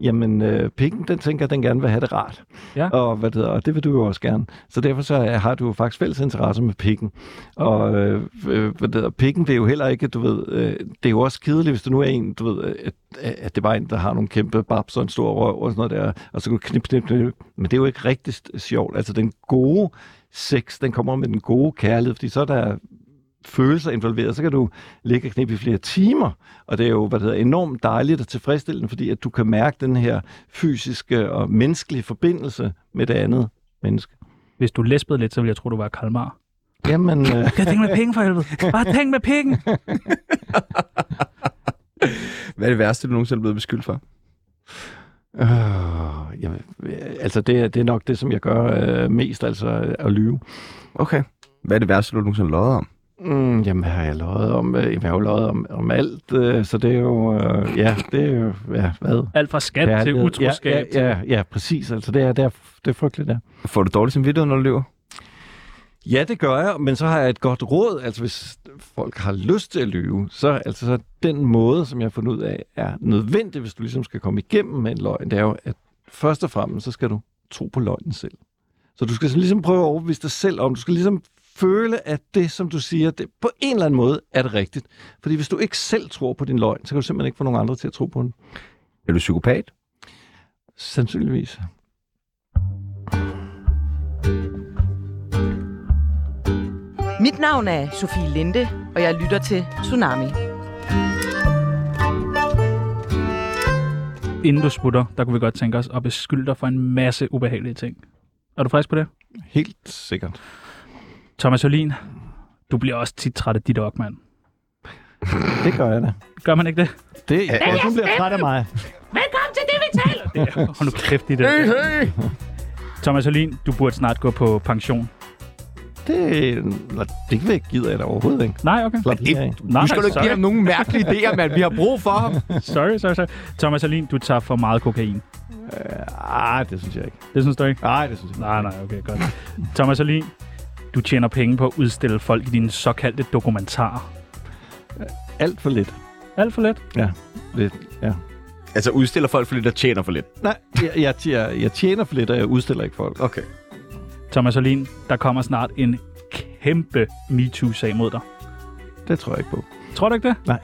Jamen, øh, pikken, den tænker, den gerne vil have det rart.
Ja.
Og, hvad det, hedder, og det vil du jo også gerne. Så derfor så øh, har du jo faktisk fælles interesse med pikken. Og øh, øh, hvad det hedder, pikken, det er jo heller ikke, du ved, øh, det er jo også kedeligt, hvis du nu er en, du ved, øh, at, at det var en, der har nogle kæmpe babs og en stor røv og sådan noget der, og så kan du knip, knip, knip. Men det er jo ikke rigtig s- sjovt. Altså den gode sex, den kommer med den gode kærlighed, fordi så er der følelser involveret, så kan du ligge og knippe i flere timer, og det er jo hvad det hedder, enormt dejligt og tilfredsstillende, fordi at du kan mærke den her fysiske og menneskelige forbindelse med det andet menneske.
Hvis du læspede lidt, så ville jeg tro, du var kalmar.
Jamen, øh,
Kan jeg tænke med pikken for helvede? Bare tænk med pikken!
Hvad er det værste, du nogensinde er blevet beskyldt for?
Øh, jamen, øh, altså det, er- det er nok det, som jeg gør øh, mest, altså øh, at lyve.
Okay. Hvad er det værste, du nogensinde har løjet om?
Mm, jamen, har jeg løjet om, øh, jamen, jeg har jo løjet om, om alt, øh, så det er jo, øh, ja, det er jo, ja, hvad?
Alt fra skat til
Kærlighed.
utroskab.
Ja, ja, ja, ja, præcis, altså det er, det er, det er frygteligt, ja.
Får du dårlig samvittighed, når du løber?
Ja, det gør jeg, men så har jeg et godt råd. Altså, hvis folk har lyst til at lyve, så altså så den måde, som jeg har fundet ud af, er nødvendig, hvis du ligesom skal komme igennem med en løgn, det er jo, at først og fremmest, så skal du tro på løgnen selv. Så du skal sådan ligesom prøve at overbevise dig selv om, du skal ligesom føle, at det, som du siger, det, på en eller anden måde er det rigtigt. Fordi hvis du ikke selv tror på din løgn, så kan du simpelthen ikke få nogen andre til at tro på den.
Er du psykopat?
Sandsynligvis.
Mit navn er Sofie Linde, og jeg lytter til Tsunami.
Inden du smutter, der kunne vi godt tænke os at beskylde dig for en masse ubehagelige ting. Er du frisk på det?
Helt sikkert.
Thomas Jolin, du bliver også tit træt af dit ok, mand.
Det gør jeg da.
Gør man ikke det?
Det er
Ja, hun bliver træt af mig.
Velkommen til det, vi taler.
Hold nu kæft i det. Hey, hey. Thomas Jolin, du burde snart gå på pension.
Det, nå, det væk gider jeg da overhovedet ikke.
Nej, okay.
Slap lige af.
Nej,
Nu skal du ikke give
sorry,
ham nogen mærkelige idéer, mand. Vi har brug for ham.
sorry, sorry, sorry. Thomas Jolin, du tager for meget kokain.
Ej, det synes jeg ikke.
Det synes du ikke?
Nej, det synes jeg ikke.
Nej, nej, okay, godt. Thomas Alin, du tjener penge på at udstille folk i dine såkaldte dokumentarer.
Alt for lidt.
Alt for let.
Ja, lidt. Ja.
Altså udstiller folk for lidt og tjener for lidt.
Nej, jeg, jeg, jeg, jeg tjener for lidt, og jeg udstiller ikke folk.
Okay.
Thomas Alin, der kommer snart en kæmpe MeToo-sag mod dig.
Det tror jeg ikke på.
Tror du ikke det?
Nej.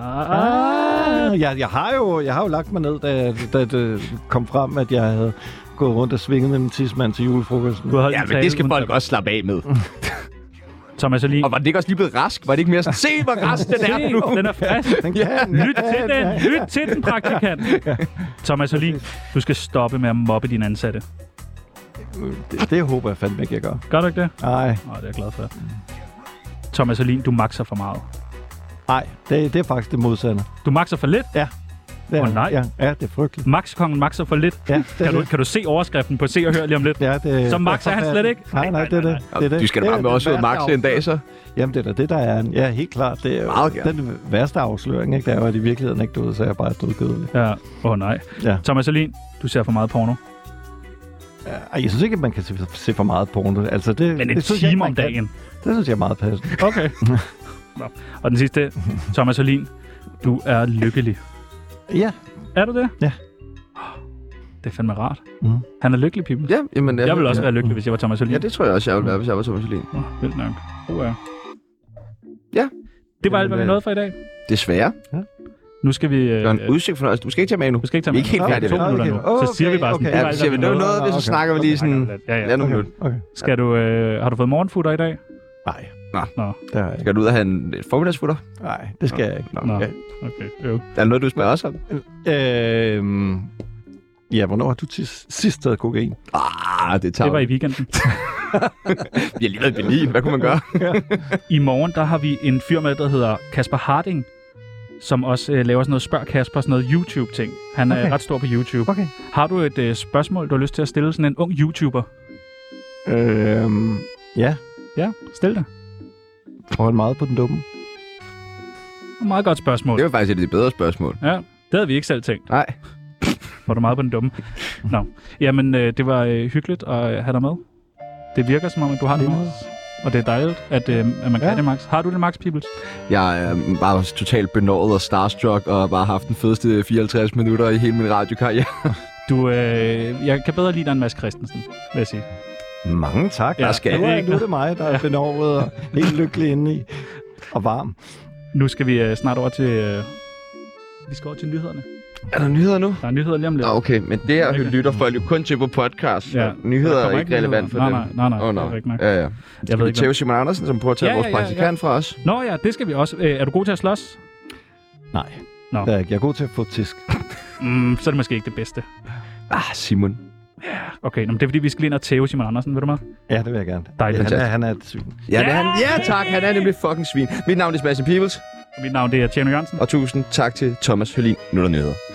Ah, jeg, jeg, har jo, jeg har jo lagt mig ned, da, da det kom frem, at jeg havde gået rundt og svinget med min tidsmand til julefrokosten.
Du har holdt
Ja,
en
men
tale
det skal
uden
folk
Thomas-
også slappe af med.
Thomas Alin,
Og var det ikke også lige blevet rask? Var det ikke mere sådan, se hvor rask den er nu?
den er frisk.
Den kan, den
Lyt
kan,
til den,
kan.
lyt til den, praktikant. Thomas Alin, du skal stoppe med at mobbe dine ansatte.
Det, det håber jeg fandme ikke, jeg gør.
Gør du ikke det?
Nej,
Nå, det er jeg glad for.
Mm.
Thomas Alin, du makser for meget.
nej, det, det er faktisk det modsatte.
Du makser for lidt.
Det er,
Åh, nej.
Ja, ja, det er frygteligt.
Maxkongen makser for lidt.
Ja, det,
Kan du,
det.
kan du se overskriften på Se og Hør lige om lidt?
Ja, det,
Så Max er han slet ikke?
Nej, nej, det er det. det, er det.
Du skal da
Det er
bare med
den
også ud
værste
Max en dag, så.
Jamen, det er da det, der er en. Ja, helt klart. Det er
Meget
jo
gerne.
den værste afsløring, ikke? Det er jo, at i virkeligheden ikke du så jeg bare er dødgødelig.
Ja, åh oh, nej.
Ja.
Thomas Alin, du ser for meget porno.
Ej, jeg synes ikke, at man kan se, se for meget porno. Altså, det,
Men en
det synes jeg ikke,
time
man
om
kan.
dagen.
Det synes jeg er meget passende.
Okay. Nå. Og den sidste, Thomas Alin, du er lykkelig.
Ja,
Er du det?
Ja.
Det er fandme rart.
Mhm.
Han er lykkelig, Pippen.
Ja, jamen,
Jeg ville også være lykkelig, hvis jeg var Thomas Alin.
Ja, det tror jeg også, jeg ville være, hvis jeg var Thomas Helin.
Nå, vildt nok. Uh, ja.
Ja.
Det var alt, hvad vi
Jamen,
nåede for i dag.
Desværre.
Nu skal vi...
Det var
Øh,
en udsigt fornøjelse. Du skal ikke tage med endnu.
du skal ikke tage
Vi er ikke helt
med.
færdige
to
endnu.
minutter nu.
Okay,
så siger vi bare sådan,
okay.
det altså
Ja,
var
vi siger, vi noget,
alt, hvad vi nåede.
noget, hvis så
Okay.
snakker vi lige sådan...
Ja, ja.
Lad nu
okay.
minutter.
okay.
Skal du, øh, har du fået morgenfutter i dag?
Nej.
Nå.
Nå.
Det har jeg ikke.
Skal du ud og have en øh, et formiddagsfutter?
Nej, det skal jeg ikke.
Nå,
Nå.
okay.
Okay, jo.
Er der noget, du spørger os om?
Øhm, ja, hvornår har du tis, sidst taget kokain?
Ah, det tager
Det var i weekenden.
Vi har lige været i Berlin. Hvad kunne man gøre?
I morgen, der har vi en fyr med, der hedder Kasper Harding, som også øh, laver sådan noget Spørg Kasper, sådan noget YouTube-ting. Han er
Okay.
ret stor på YouTube.
Okay.
Har du et øh, spørgsmål, du har lyst til at stille sådan en ung YouTuber?
Øhm, ja,
Ja, stil det.
hold meget på den dumme.
Det er meget godt spørgsmål.
Det var faktisk et af de bedre spørgsmål.
Ja, det havde vi ikke selv tænkt.
Nej.
Var du meget på den dumme? Nå, jamen øh, det var øh, hyggeligt at øh, have dig med. Det virker som om, at du har det med. Og det er dejligt, at, øh, at man kan
Ja.
det, Max. Har du det, Max Peoples?
Jeg er bare totalt benådet og starstruck, og har bare haft den fedeste 54 minutter i hele min radiokarriere.
Du, øh, jeg kan bedre lide dig end Mads Christensen, vil jeg sige.
Mange tak. Ja, skal
Nu
jeg.
Det er
er,
ikke
nu er det mig, der er benovet og helt lykkelig indeni. Og varm.
Nu skal vi øh, snart over til... Øh, vi skal over til nyhederne.
Er der nyheder nu?
Der er nyheder lige om lidt.
Nå, okay, men det her
Ikke.
lytter folk jo kun til på podcast.
Ja.
Ja. Nyheder
Der
er
kommer
ikke relevant for
nyheder.
dem.
nej, Nej, nej, nej.
Åh,
Oh, no. Det er
nej.
rigtigt nok.
Ja, ja.
Jeg
Skal
ved
vi
ikke, hvad-
tæve Simon Andersen, som prøver at tage
Ja,
vores
ja, ja, ja.
praktikant fra os?
Nå ja, det skal vi også. Øh, er du god til at slås?
Nej.
Nå.
Det er jeg ikke. Øh, Jeg er god til at få tisk.
Mm, så er det måske ikke det bedste.
Ah, Simon.
Okay, nå, men det er fordi, vi skal lige ind og tæve Simon Andersen, ved du mig?
Ja, det vil jeg gerne.
Dejligt.
Han er, han er et svin.
Ja, det er han. ja tak. Han er nemlig fucking svin. Mit navn er Sebastian Peebles,
Mit navn det er Tjerno Jørgensen.
og tusind tak til Thomas Hølin. Nu er der nyheder.